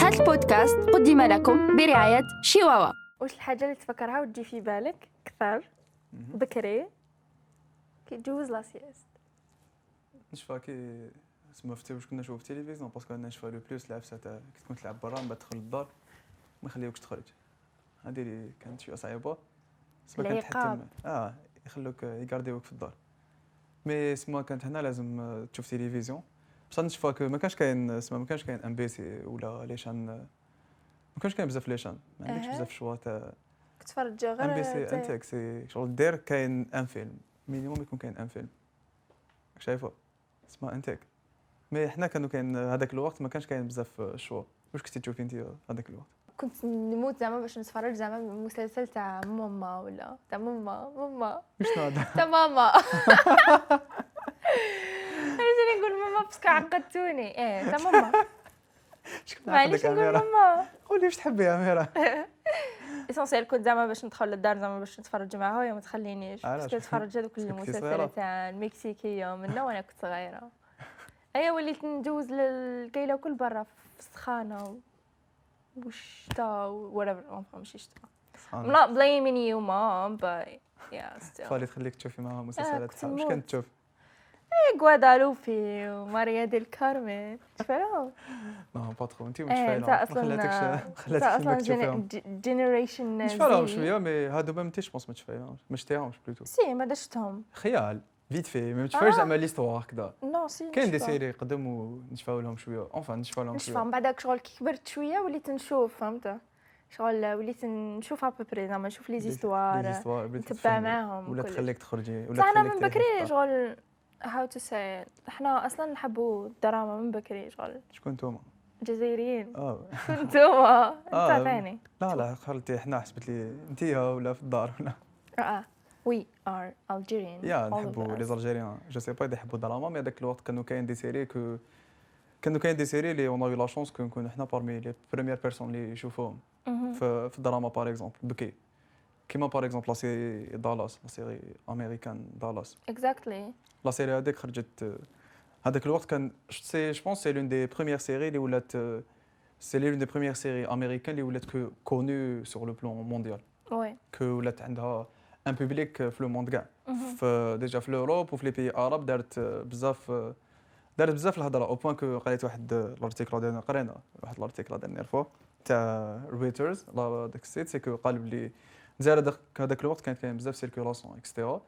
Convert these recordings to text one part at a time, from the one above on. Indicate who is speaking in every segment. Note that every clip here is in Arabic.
Speaker 1: هذا البودكاست قدم لكم برعاية شيواوا
Speaker 2: واش الحاجه اللي تفكرها وتجي في بالك كثر بكري كيتجوز لا سياست
Speaker 3: نشفى كي تسمى في واش كنا نشوفو في التلفزيون باسكو انا نشفى لو بلوس العفسه تاع كي تكون تلعب برا من بعد تدخل للدار ما يخليوكش تخرج هذه اللي كانت شويه صعيبه سما كانت
Speaker 2: العقاب.
Speaker 3: تحتم اه يخلوك يكارديوك في الدار مي سما كانت هنا لازم آه، تشوف تلفزيون بصح نشفى كو ما كانش كاين سما ما كانش كاين ام بي سي ولا ليشان ما كانش كاين بزاف ليشان ما عندكش
Speaker 2: أها.
Speaker 3: بزاف شوا تاع
Speaker 2: كنت تفرج غير
Speaker 3: ام بي سي
Speaker 2: تاع-
Speaker 3: انت سي شغل دير كاين ان فيلم مينيموم يكون كاين ان فيلم راك شايفه اسمها انتك مي حنا كانوا كاين هذاك الوقت ما كانش كاين بزاف الشوا واش كنتي تشوفي انت هذاك الوقت
Speaker 4: كنت نموت زعما باش نتفرج زعما مسلسل تاع ماما ولا تاع ماما ماما
Speaker 3: شنو هذا
Speaker 4: تاع ماما انا جاني نقول ماما باسكو عقدتوني ايه تاع ماما
Speaker 3: شكون عاقل
Speaker 2: معليش
Speaker 3: ديك
Speaker 2: نقول
Speaker 3: اميره
Speaker 2: ماما
Speaker 3: قولي واش تحبي يا اميره
Speaker 2: اسونسيال كنت زعما باش ندخل للدار زعما باش نتفرج معاه وهي ما تخلينيش
Speaker 3: علاش؟
Speaker 2: كنت نتفرج هذوك
Speaker 3: كنتي
Speaker 2: المسلسلات
Speaker 3: صغيرة.
Speaker 2: تاع المكسيكيه من وانا كنت صغيره ايا وليت ندوز للكايله كل برا في السخانه و- والشتا ولا ماشي شتا I'm
Speaker 3: سبحان
Speaker 2: not blaming you mom but yeah still
Speaker 3: الله تخليك تشوفي معاها مسلسلات
Speaker 2: أه، كنت
Speaker 3: بحال- واش
Speaker 2: نموت.
Speaker 3: كانت تشوف
Speaker 2: غوادالوبي وماريا ديل كارمن تفهم
Speaker 3: نو با تخو انت واش
Speaker 2: ايه
Speaker 3: فايله
Speaker 2: انت
Speaker 3: ما
Speaker 2: اصلا
Speaker 3: خلاتكش
Speaker 2: انت
Speaker 3: خلاتكش
Speaker 2: اصلا
Speaker 3: انك تشوفيهم
Speaker 2: جينيريشن
Speaker 3: نشفى لهم شويه مي هادو ما متيش بونس ما تشفيهمش ما شتيهمش بلوتو
Speaker 2: سي ما دشتهم
Speaker 3: خيال فيت في ما تشفاش
Speaker 2: آه.
Speaker 3: زعما ليستوار هكذا
Speaker 2: نو سي
Speaker 3: كاين دي
Speaker 2: نشفى.
Speaker 3: سيري قدموا نشفاو لهم شويه اونفا نشفاو لهم
Speaker 2: نشفى
Speaker 3: شويه
Speaker 2: من بعدك شغل كي كبرت شويه وليت نشوف فهمت شغل وليت نشوف ابري زعما نشوف لي زيستوار
Speaker 3: زيستوار
Speaker 2: نتبع معاهم
Speaker 3: ولا
Speaker 2: وكل.
Speaker 3: تخليك تخرجي ولا
Speaker 2: بصح انا
Speaker 3: تخليك
Speaker 2: من
Speaker 3: تريحي في
Speaker 2: بكري
Speaker 3: الدار.
Speaker 2: شغل هاو تو سي حنا اصلا نحبوا الدراما من بكري شغل
Speaker 3: شكون نتوما؟
Speaker 2: جزائريين
Speaker 3: اه
Speaker 2: انتوما
Speaker 3: آه.
Speaker 2: انت ثاني
Speaker 3: لا لا خالتي حنا حسبت لي انت ولا في الدار ولا
Speaker 2: اه وي ار الجيريان
Speaker 3: يا نحبوا لي زالجيريان جو سي با يحبوا الدراما مي هذاك الوقت كانوا كاين دي سيري كو كانوا كاين دي سيري اللي اون اي لا شونس كو نكونوا حنا بارمي لي بريمير بيرسون اللي يشوفوهم في في الدراما باغ اكزومبل بكي كيما باغ اكزومبل لا سيري دالاس لا سيري امريكان دالاس
Speaker 2: اكزاكتلي
Speaker 3: لا سيري هذيك خرجت آه، هذاك الوقت كان سي جو بونس سي لون دي بروميير سيري اللي ولات آه، سي لون دي بروميير سيري امريكان اللي ولات كو كونو سور لو بلون مونديال
Speaker 2: وي
Speaker 3: كو ولات عندها ان بوبليك في لو موند كاع في ديجا في لوروب وفي لي بيي عرب دارت آه، بزاف آه، دارت بزاف الهضره او بوان كو قريت واحد آه، لارتيكل هذا أنا قرينا واحد لارتيكل هذا dernière فوا تاع رويترز داك السيت سي كو قال بلي الجزائر داك- هذاك الوقت كانت كاين بزاف سيركولاسيون اكسترا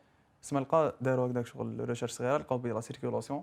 Speaker 3: تسمى لقى داروا هكذاك شغل ريشيرش صغيره لقاو بلي لا سيركولاسيون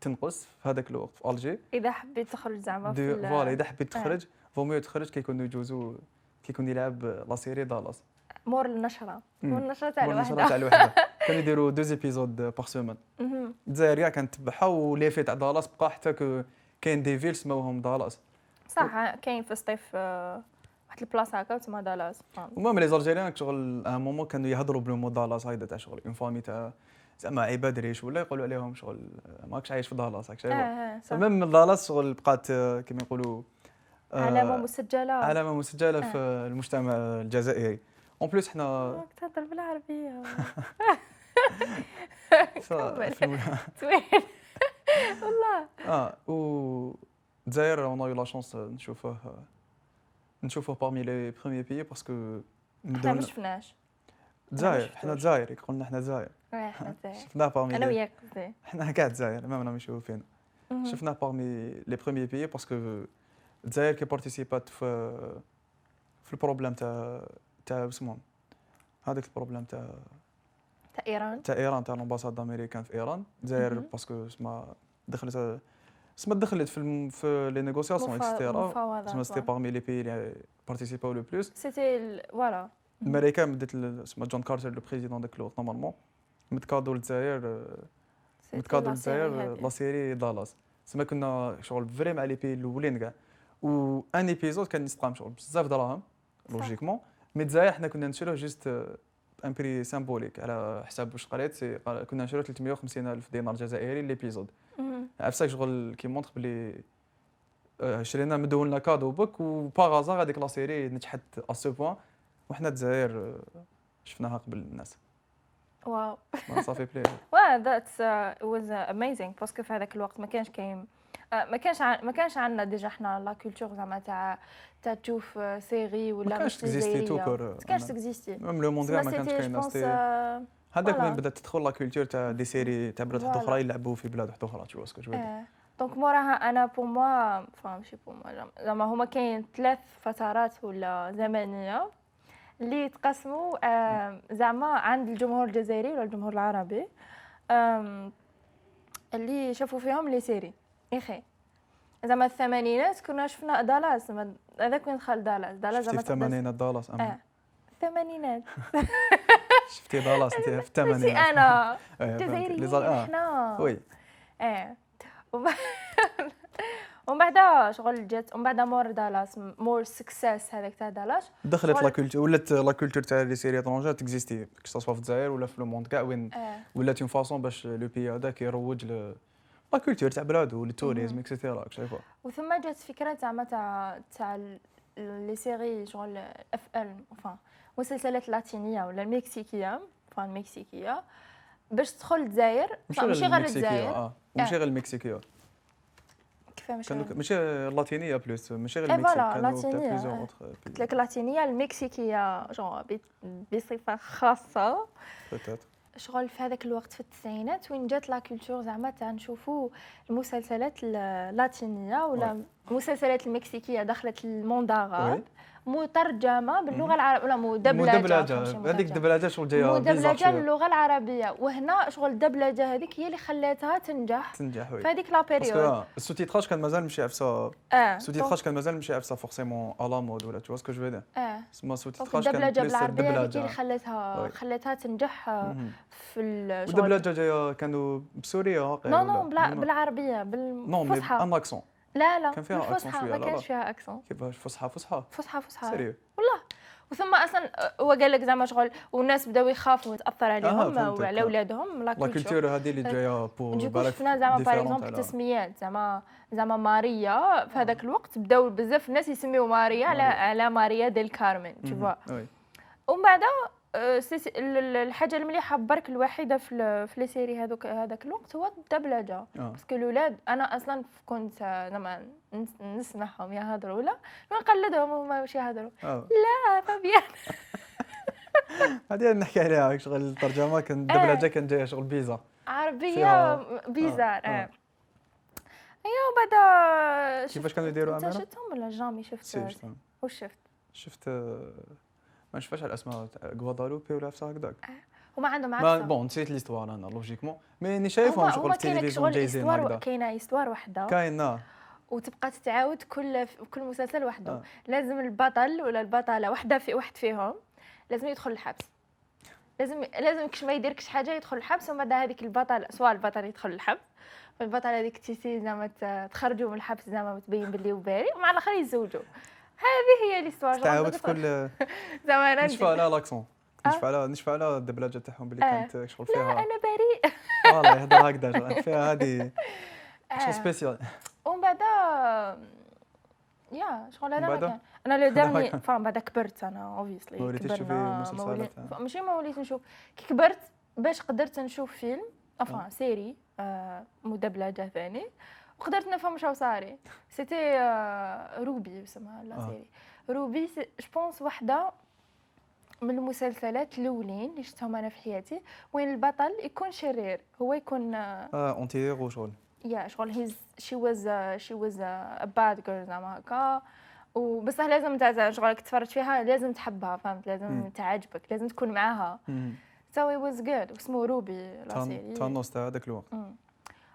Speaker 3: تنقص في هذاك الوقت في الجي
Speaker 2: اذا حبيت تخرج زعما في
Speaker 3: دو
Speaker 2: ال-
Speaker 3: فوالا اذا حبيت
Speaker 2: آه.
Speaker 3: تخرج فو ميو تخرج كيكونوا يجوزوا كيكون يلعب لا سيري دالاس
Speaker 2: مور النشره
Speaker 3: مم.
Speaker 2: مور النشره تاع
Speaker 3: والنشرة
Speaker 2: الوحده
Speaker 3: تاع الوحده كانوا يديروا دوز ايبيزود باغ سومان
Speaker 2: مهم.
Speaker 3: الجزائر كاع كانت تبعها وليفي تاع دالاس بقى حتى كو كاين دي فيل سماوهم دالاس
Speaker 2: صح كاين في الصيف آه، واحد البلاصه هكا تسمى دالاس
Speaker 3: المهم لي زالجيريان شغل ان مومون كانوا يهضروا بلو مو دالاس هايدا تاع شغل اون فامي تاع زعما عباد ريش ولا يقولوا عليهم شغل ماكش عايش في دالاس راك
Speaker 2: اه
Speaker 3: شايف
Speaker 2: آه، صح
Speaker 3: المهم دالاس شغل بقات آه، كيما يقولوا آه،
Speaker 2: علامه مسجله
Speaker 3: علامه مسجله في
Speaker 2: آه.
Speaker 3: المجتمع الجزائري اون بليس حنا
Speaker 2: راك تهضر بالعربيه
Speaker 3: ف- في الم-
Speaker 2: زوين
Speaker 3: اه و الجزائر اون اي لا شونس نشوفوه نشوفوه بارمي لي بروميي بيي باسكو
Speaker 2: حنا ما شفناش
Speaker 3: الجزائر
Speaker 2: شفتوش.
Speaker 3: حنا الجزائر قلنا حنا الجزائر
Speaker 2: إيه، حنا زين.
Speaker 3: شفناه بارمي
Speaker 2: انا
Speaker 3: لي-
Speaker 2: وياك زين.
Speaker 3: حنا كاع الجزائر ما راهم يشوفوا فينا
Speaker 2: مهم.
Speaker 3: شفناه بارمي لي بروميي بيي باسكو الجزائر كي بارتيسيبات في في البروبليم تاع تاع اسمهم هذاك البروبليم تاع
Speaker 2: تاع ايران
Speaker 3: تاع ايران تاع الامباساد امريكان في ايران الجزائر
Speaker 2: مهم.
Speaker 3: باسكو اسمها دخلت اسمها دخلت في الم- في لي نيغوسياسيون
Speaker 2: مفا-
Speaker 3: اكسترا تسمى
Speaker 2: مفاوضات
Speaker 3: سيتي
Speaker 2: فوالا.
Speaker 3: باغمي لي بيي اللي بارتيسيباو لو بلوس
Speaker 2: سيتي ال- فوالا مم.
Speaker 3: امريكا بدات ال- اسمها جون كارتر لو بريزيدون داك الوقت نورمالمون متكادو للجزائر
Speaker 2: سيتي
Speaker 3: متكادو
Speaker 2: لا سيري
Speaker 3: للجزائر
Speaker 2: هادي.
Speaker 3: لا سيري دالاس تسمى كنا شغل فري مع لي بيي الاولين كاع و ان ايبيزود كان يسقام شغل بزاف دراهم
Speaker 2: صح.
Speaker 3: لوجيكمون مي الجزائر حنا كنا نشروه جوست ان بري سيمبوليك على حساب واش قريت سي- قال- كنا نشروه 350 الف دينار جزائري ليبيزود
Speaker 2: مهم.
Speaker 3: عرفتك شغل كي مونطخ بلي آه، شرينا مدون لنا كادو بوك وباغ ازار هذيك لا سيري نجحت ا سو بوان وحنا الجزائر آه، شفناها قبل الناس
Speaker 2: واو
Speaker 3: ما صافي بلي
Speaker 2: uh, واه ذات واز اميزينغ باسكو في هذاك الوقت ما كانش كاين آه، ما كانش عن- ما كانش عندنا ديجا حنا لا كولتور زعما تاع تاع تشوف آه، سيري ولا
Speaker 3: ما كانش
Speaker 2: مش
Speaker 3: تكزيستي
Speaker 2: جزائرية.
Speaker 3: توكر
Speaker 2: ما كانش تكزيستي
Speaker 3: ميم لو مونديال ما كانتش كاينه سيتي-
Speaker 2: euh,
Speaker 3: هذاك
Speaker 2: فوالا.
Speaker 3: من بدات تدخل لا كولتور تاع دي سيري تاع بلاد واحده
Speaker 2: فوالا. إيه،
Speaker 3: اخرى يلعبوا في بلاد واحده اخرى تشوف اسكو جو دير
Speaker 2: دونك موراها انا بور موا فهم شي بور موا زعما- زعما هما كاين ثلاث فترات ولا زمنيه اللي يتقسموا آم، زعما عند الجمهور الجزائري ولا الجمهور العربي آم، اللي شافوا فيهم لي سيري اخي زعما الثمانينات كنا شفنا دالاس ما- هذاك وين دخل دالاس دالاس
Speaker 3: شفتي
Speaker 2: زعما
Speaker 3: في الثمانينات دالاس
Speaker 2: تقدر- آه،
Speaker 3: أم-
Speaker 2: الثمانينات
Speaker 3: شفتي دالاس انت في
Speaker 2: ماشي
Speaker 3: الثمانينات
Speaker 2: انا
Speaker 3: إيه، فهمت. لي
Speaker 2: جزائريين
Speaker 3: زال- آه،
Speaker 2: حنا
Speaker 3: وي
Speaker 2: ايه وب- ومن بعد شغل جات ومن بعد مور دالاس مور سكسيس هذاك تاع دالاس
Speaker 3: دخلت
Speaker 2: شغل-
Speaker 3: لا كولتور ولات لا كولتور تاع لي سيري اترونجير تكزيستي كو سوا في الجزائر ولا في لو موند كاع وين
Speaker 2: آه.
Speaker 3: ولات اون فاصون باش لو بي هذاك يروج ل لا كولتور تاع بلادو للتوريزم اكسيتيرا شايفه
Speaker 2: وثم جات فكره زعما تاع تاع ال- لي سيري شغل اف ال فان مسلسلات اللاتينيه ولا المكسيكيه فان المكسيكيه باش تدخل الجزائر ماشي غير الجزائر
Speaker 3: اه وماشي غير المكسيكيه
Speaker 2: كيف ماشي
Speaker 3: كانوا
Speaker 2: غير
Speaker 3: ماشي لاتينيه بلوس ماشي غير
Speaker 2: إيه
Speaker 3: المكسيك
Speaker 2: فوالا،
Speaker 3: كانوا تاع
Speaker 2: لاتينية،
Speaker 3: بليزيور
Speaker 2: إيه.
Speaker 3: أوتر
Speaker 2: قلت لك اللاتينيه المكسيكيه جون بصفه خاصه
Speaker 3: بيتات
Speaker 2: شغل في هذاك الوقت في التسعينات وين جات لا كولتور زعما تاع نشوفوا المسلسلات اللاتينيه ولا المسلسلات المكسيكيه دخلت الموند
Speaker 3: وي.
Speaker 2: العرب مترجمه باللغه العربيه ولا مدبلجه
Speaker 3: مدبلجه
Speaker 2: فهمتي،
Speaker 3: هذيك
Speaker 2: مدبلجة.
Speaker 3: الدبلجه شغل جايه بيزار
Speaker 2: مدبلجه
Speaker 3: شوية.
Speaker 2: للغه العربيه وهنا شغل الدبلجه هذيك هي اللي خلاتها تنجح
Speaker 3: تنجح وي
Speaker 2: في هذيك لا
Speaker 3: باسكو
Speaker 2: بيريود
Speaker 3: آه، السو تيتراج كان مازال ماشي عفسه
Speaker 2: اه
Speaker 3: السو
Speaker 2: دونك-
Speaker 3: تيتراج كان مازال ماشي عفسه فورسيمون الا مود ولا تو سكو جو فيدير
Speaker 2: اه
Speaker 3: سما سو
Speaker 2: دونك
Speaker 3: تيتراج كان
Speaker 2: الدبلجه
Speaker 3: بليس
Speaker 2: بالعربيه هذيك اللي
Speaker 3: الدبلجه
Speaker 2: خلاتها
Speaker 3: وي.
Speaker 2: خلاتها تنجح آه،
Speaker 3: مهم.
Speaker 2: في ال- شغل-
Speaker 3: والدبلجه جايه كانوا بسوريه واقع
Speaker 2: نو
Speaker 3: ولا-
Speaker 2: نو بلا-
Speaker 3: نو،
Speaker 2: بالعربيه
Speaker 3: نو مي
Speaker 2: بالفصحى
Speaker 3: ان اكسون
Speaker 2: لا لا
Speaker 3: كان فيها accent
Speaker 2: بالفصحى
Speaker 3: شوية،
Speaker 2: ما
Speaker 3: لا،
Speaker 2: كانش
Speaker 3: لا.
Speaker 2: فيها اكسون
Speaker 3: كيفاش فصحى فصحى
Speaker 2: فصحى فصحى
Speaker 3: سيريو
Speaker 2: والله وثم اصلا هو قال لك زعما شغل والناس بداو يخافوا تاثر عليهم
Speaker 3: فهمتك،
Speaker 2: وعلى
Speaker 3: آه.
Speaker 2: ولادهم لا
Speaker 3: لا
Speaker 2: كولتور
Speaker 3: كولتور هذه اللي جايه بور
Speaker 2: دوكو
Speaker 3: بالك
Speaker 2: شفنا زعما باغ
Speaker 3: different
Speaker 2: اكزومبل
Speaker 3: على-
Speaker 2: تسميات زعما زعما ماريا في هذاك الوقت بداو بزاف الناس يسميو ماريا على
Speaker 3: ماريا.
Speaker 2: على ماريا ديل كارمن
Speaker 3: مهم.
Speaker 2: تشوفوا
Speaker 3: وي.
Speaker 2: ومن بعد آه، سي- سي- ال- ال- الحاجه المليحه برك الوحيده في ال- في لي سيري هذوك هذاك الوقت هو الدبلجه
Speaker 3: آه.
Speaker 2: باسكو الاولاد انا اصلا كنت آه، زعما نس- نسمعهم يهضروا ولا نقلدهم هما واش يهضروا
Speaker 3: آه.
Speaker 2: لا فابيان
Speaker 3: هذه اللي نحكي عليها شغل الترجمه كان الدبلجه كان جايه شغل بيزا
Speaker 2: عربيه
Speaker 3: فيها-
Speaker 2: بيزار
Speaker 3: آه.
Speaker 2: آه. ايوا بعدا شفت-
Speaker 3: كيفاش كانوا يديروا
Speaker 2: انت
Speaker 3: أمانة؟
Speaker 2: شفتهم ولا جامي شفت
Speaker 3: سي شفت-
Speaker 2: واش شفت
Speaker 3: شفت آه، ما نشوفهاش على الاسماء تاع غوادالوبي ولا عفسه هكذاك
Speaker 2: هما عندهم
Speaker 3: ما
Speaker 2: عفسه
Speaker 3: بون نسيت ليستوار انا لوجيكمون مي راني
Speaker 2: هما
Speaker 3: شايفهم شغل
Speaker 2: هما كاينه
Speaker 3: التلفزيون
Speaker 2: شغل
Speaker 3: جايزين
Speaker 2: استوار
Speaker 3: هكذا
Speaker 2: كاينه استوار وحده
Speaker 3: كاين آه.
Speaker 2: وتبقى تتعاود كل كل مسلسل وحده
Speaker 3: آه.
Speaker 2: آه. لازم البطل ولا البطله وحده في واحد فيهم لازم يدخل الحبس لازم لازم كش ما يديركش حاجه يدخل الحبس ومن بعد هذيك البطل سواء البطل يدخل الحبس والبطله هذيك تيسي زعما ت- تخرجوا من الحبس زعما وتبين باللي وباري ومع الاخر يتزوجوا هذه هي اللي سوا
Speaker 3: تعاود في كل
Speaker 2: زعما انا
Speaker 3: نشفى على لاكسون
Speaker 2: طيب. آه.
Speaker 3: نشفى على نشفى على الدبلجه تاعهم باللي
Speaker 2: آه.
Speaker 3: كانت شغل فيها آه،
Speaker 2: انا بريء
Speaker 3: فوالا يهضر هكذا شغل فيها هذه شغل
Speaker 2: آه.
Speaker 3: سبيسيال
Speaker 2: ومن بعد mm, يا شغل هذا
Speaker 3: ومن
Speaker 2: ما
Speaker 3: بعد؟
Speaker 2: كان انا لو
Speaker 3: ما
Speaker 2: ديرني
Speaker 3: كان.
Speaker 2: فان بعد كبرت انا اوبيسلي
Speaker 3: ما وليتيش تشوفي مسلسلات، آه.
Speaker 2: ماشي ما وليت نشوف كي كبرت باش قدرت نشوف فيلم افا سيري آه، مدبلجه ثاني وقدرت نفهم شو صاري سيتي آه، روبي اسمها لا
Speaker 3: آه.
Speaker 2: سيري روبي سي- جو بونس وحده من المسلسلات الاولين اللي شفتهم انا في حياتي وين البطل يكون شرير هو يكون آه،
Speaker 3: اه اونتي وشغل
Speaker 2: يا شغل هيز شي واز شي واز باد جيرل زعما هكا وبصح لازم تاع شغلك تفرج فيها لازم تحبها فهمت لازم
Speaker 3: مم.
Speaker 2: تعجبك لازم تكون معاها سو اي واز جود واسمه روبي لا سيري
Speaker 3: تانوس تاع هذاك الوقت
Speaker 2: مم.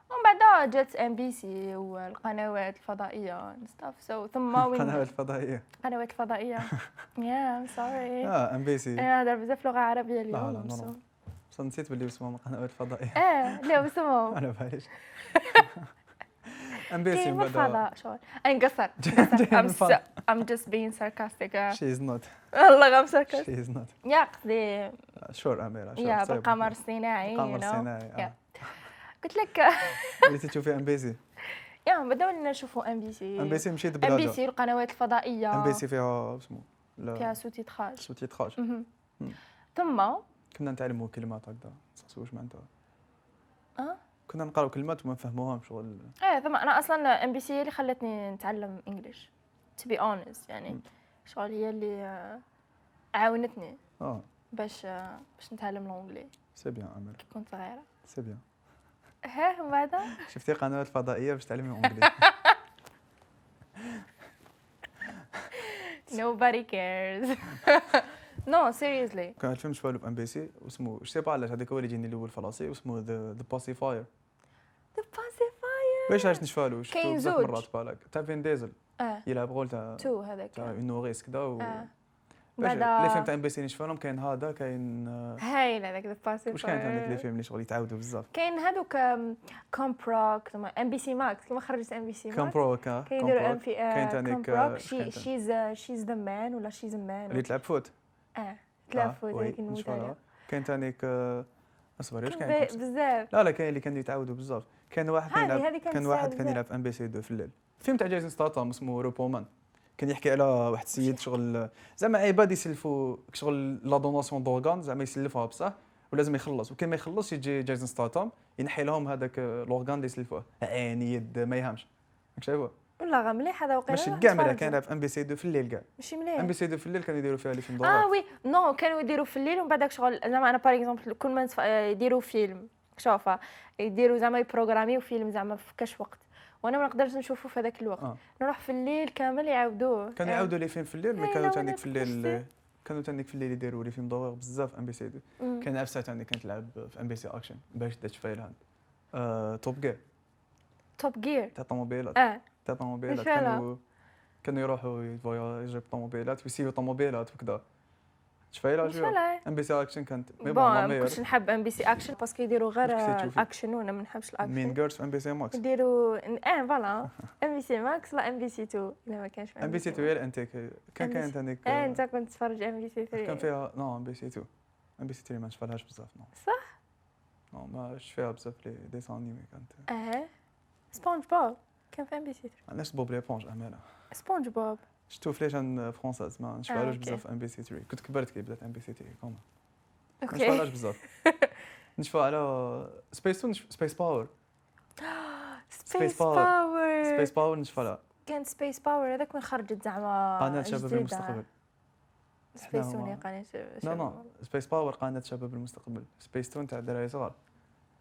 Speaker 2: ومن بعد جات ام بي سي والقنوات الفضائيه ستاف سو ثم
Speaker 3: القناه
Speaker 2: وين
Speaker 3: الفضائيه
Speaker 2: القنوات الفضائيه يا ام سوري
Speaker 3: اه ام بي سي
Speaker 2: انا نهضر بزاف لغه عربيه
Speaker 3: لا،
Speaker 2: اليوم
Speaker 3: normal.
Speaker 2: so-
Speaker 3: بصح نسيت باللي اسمهم القناه الفضائيه
Speaker 2: اه لا بسمهم
Speaker 3: على باليش ام بي سي
Speaker 2: كاين
Speaker 3: من بعد
Speaker 2: الفضاء شغل انا نقصر
Speaker 3: جاي من
Speaker 2: I'm,
Speaker 3: الفضاء.
Speaker 2: I'm just being sarcastic
Speaker 3: شي از نوت
Speaker 2: والله غير sarcastic
Speaker 3: شي از نوت
Speaker 2: يا قصدي
Speaker 3: شور اميره شور
Speaker 2: يا
Speaker 3: صعيب.
Speaker 2: بالقمر الصناعي
Speaker 3: القمر
Speaker 2: you know.
Speaker 3: الصناعي آه.
Speaker 2: قلت لك
Speaker 3: بديتي تشوفي ام بي سي
Speaker 2: يا بداو لنا نشوفوا ام بي سي
Speaker 3: ام بي سي مشيت
Speaker 2: ام بي
Speaker 3: بلاجه
Speaker 2: سي القنوات الفضائيه
Speaker 3: ام بي سي فيها اسمه لا،
Speaker 2: فيها سو تيتراج
Speaker 3: سو تيتراج
Speaker 2: مهم.
Speaker 3: مم.
Speaker 2: ثم
Speaker 3: كنا نتعلموا كلمات هكذا ما واش معناتها
Speaker 2: آه؟
Speaker 3: كنا نقراو كلمات وما نفهموهمش شغل
Speaker 2: ايه ثم انا اصلا ام بي سي هي اللي خلتني نتعلم انجليش تو بي اونست يعني
Speaker 3: مم.
Speaker 2: شغل هي اللي آه، عاونتني
Speaker 3: اه
Speaker 2: باش آه، باش نتعلم لونجلي
Speaker 3: سي بيان عامر
Speaker 2: كي كنت صغيره
Speaker 3: سي بيان
Speaker 2: ها من بعد
Speaker 3: شفتي قنوات فضائيه باش تعلمي الانجليزي
Speaker 2: nobody cares نو سيريسلي
Speaker 3: كان الفيلم شفالو في ام بي سي واسمه سي با علاش هذاك هو اللي جيني الاول فرنسي واسمه ذا باسيفاير
Speaker 2: ذا باسيفاير
Speaker 3: باش علاش نشفالو شفتو
Speaker 2: كاين
Speaker 3: بزاف
Speaker 2: زوج.
Speaker 3: مرات بالك تاع فين ديزل
Speaker 2: اه
Speaker 3: يلعب غول تاع
Speaker 2: تو هذاك
Speaker 3: تاع اون نوريس كدا و
Speaker 2: آه.
Speaker 3: باش
Speaker 2: بعدا-
Speaker 3: لي فيلم تاع ام بي سي اللي شفالهم كاين هذا كاين آه،
Speaker 2: هايل هذاك ذا باسيفاير
Speaker 3: واش كانت عندك لي فيلم اللي شغل يتعاودوا بزاف
Speaker 2: كاين هذوك كومبروك ثم ام بي سي ماكس لما خرجت ام بي سي
Speaker 3: كان
Speaker 2: ماكس
Speaker 3: بروك آه،
Speaker 2: كاين
Speaker 3: كان
Speaker 2: يديروا ام
Speaker 3: بروك
Speaker 2: في
Speaker 3: كاين تانيك، آه،
Speaker 2: كومبروك
Speaker 3: كاين تانيك.
Speaker 2: شيز شيز ذا مان ولا شيز
Speaker 3: اللي
Speaker 2: مان
Speaker 3: تلعب فوت
Speaker 2: اه
Speaker 3: آه،
Speaker 2: تلافو
Speaker 3: وي،
Speaker 2: هذيك نموت
Speaker 3: نشفالها.
Speaker 2: عليها
Speaker 3: كاين تانيك آه، اصبر واش
Speaker 2: كاين
Speaker 3: كاين
Speaker 2: بي-
Speaker 3: كم-
Speaker 2: بزاف
Speaker 3: لا لا كاين اللي كانوا يتعاودوا بزاف كان واحد كان
Speaker 2: هذه-
Speaker 3: يلعب
Speaker 2: هذه كانت
Speaker 3: كان واحد
Speaker 2: ساعة
Speaker 3: كان
Speaker 2: بزاف.
Speaker 3: يلعب ام بي سي 2 في الليل فيلم تاع جايزن ستاتام اسمه روبومان كان يحكي على واحد السيد شغل زعما عباد يسلفوا شغل لا دوناسيون دورغان زعما يسلفها بصح ولازم يخلص وكان ما يخلص يجي جايزن ستاتام ينحي لهم هذاك الاورغان اللي يسلفوه عين يد ما يهمش راك شايفه
Speaker 2: والله غا مليح هذا وقيلا
Speaker 3: ماشي
Speaker 2: واحد
Speaker 3: كاع مليح
Speaker 2: تفرج.
Speaker 3: كان يلعب ام بي سي 2 في الليل كاع
Speaker 2: ماشي
Speaker 3: ام
Speaker 2: مليح
Speaker 3: بي سي 2 في الليل كانوا يديروا فيها لي فيلم
Speaker 2: اه
Speaker 3: دورغان
Speaker 2: إيه. وي نو كانوا يديروا في الليل ومن بعد شغل زعما انا باغ اكزومبل كل ما نتف- آه، يديروا فيلم شوفه يديروا زعما يبروغراميو فيلم زعما في كاش وقت وانا ما نقدرش نشوفه في هذاك الوقت
Speaker 3: آه.
Speaker 2: نروح في الليل كامل يعاودوه
Speaker 3: كانوا
Speaker 2: آه.
Speaker 3: يعاودوا لي فيلم في الليل
Speaker 2: إيه،
Speaker 3: مي
Speaker 2: لا،
Speaker 3: كانوا
Speaker 2: ولا
Speaker 3: تانيك في الليل
Speaker 2: بودكاست.
Speaker 3: كانوا تانيك في الليل يديروا لي فيلم دورغ بزاف ام بي سي 2
Speaker 2: آه. مم.
Speaker 3: كان نفسها تاني كنت لعب في ام بي سي اكشن باش دات فايل هاند آه، توب جير
Speaker 2: توب جير
Speaker 3: تاع طوموبيلات
Speaker 2: اه
Speaker 3: تاع طوموبيلات
Speaker 2: إيش فعلا؟
Speaker 3: كانوا كانوا يروحوا يفواياجيو بطوموبيلات ويسيو طوموبيلات وكذا شفايلة
Speaker 2: مش فعلا
Speaker 3: ام بي سي اكشن كانت مي
Speaker 2: بون
Speaker 3: بون لا
Speaker 2: ما
Speaker 3: ميور
Speaker 2: كنتش نحب ام بي سي اكشن باسكو يديروا غير
Speaker 3: كنت
Speaker 2: آه،
Speaker 3: تشوفي؟
Speaker 2: اكشن وانا ما نحبش
Speaker 3: مين
Speaker 2: الاكشن
Speaker 3: جيرلز في ام بي سي ماكس
Speaker 2: يديروا اه فوالا ام بي سي ماكس ولا ام بي سي 2 الا ما كانش
Speaker 3: ام بي سي 2 هي الانتيك كان
Speaker 2: NBC
Speaker 3: كاين تانيك
Speaker 2: اه
Speaker 3: آه،
Speaker 2: انت كنت تتفرج ام بي سي
Speaker 3: كان
Speaker 2: 3
Speaker 3: فيها نعم، نو ام بي سي 2 ام بي سي 3 ما نشفالهاش بزاف نو
Speaker 2: صح
Speaker 3: نو ما فيها بزاف لي ديسان انيمي كانت
Speaker 2: اه سبونج بوب كان في ام بي سي 3
Speaker 3: علاش بوب ليبونج امانه
Speaker 2: سبونج بوب
Speaker 3: شفتو في ليشان فرونساز ما نشفالوش
Speaker 2: آه، أوكي.
Speaker 3: بزاف ام بي سي 3 كنت كبرت كي بدات ام بي سي 3 كوم نشفى
Speaker 2: اوكي
Speaker 3: بزاف نشفى على سبيس تون سبيس باور
Speaker 2: سبيس
Speaker 3: Power.
Speaker 2: باور
Speaker 3: سبيس باور نشفى على
Speaker 2: كان سبيس باور هذاك من خرجت زعما
Speaker 3: قناة شباب
Speaker 2: آه، جديدة.
Speaker 3: المستقبل
Speaker 2: سبيس
Speaker 3: هما-
Speaker 2: توني قناه شباب
Speaker 3: لا لا سبيس باور قناة شباب المستقبل سبيس تون تاع الدراري صغار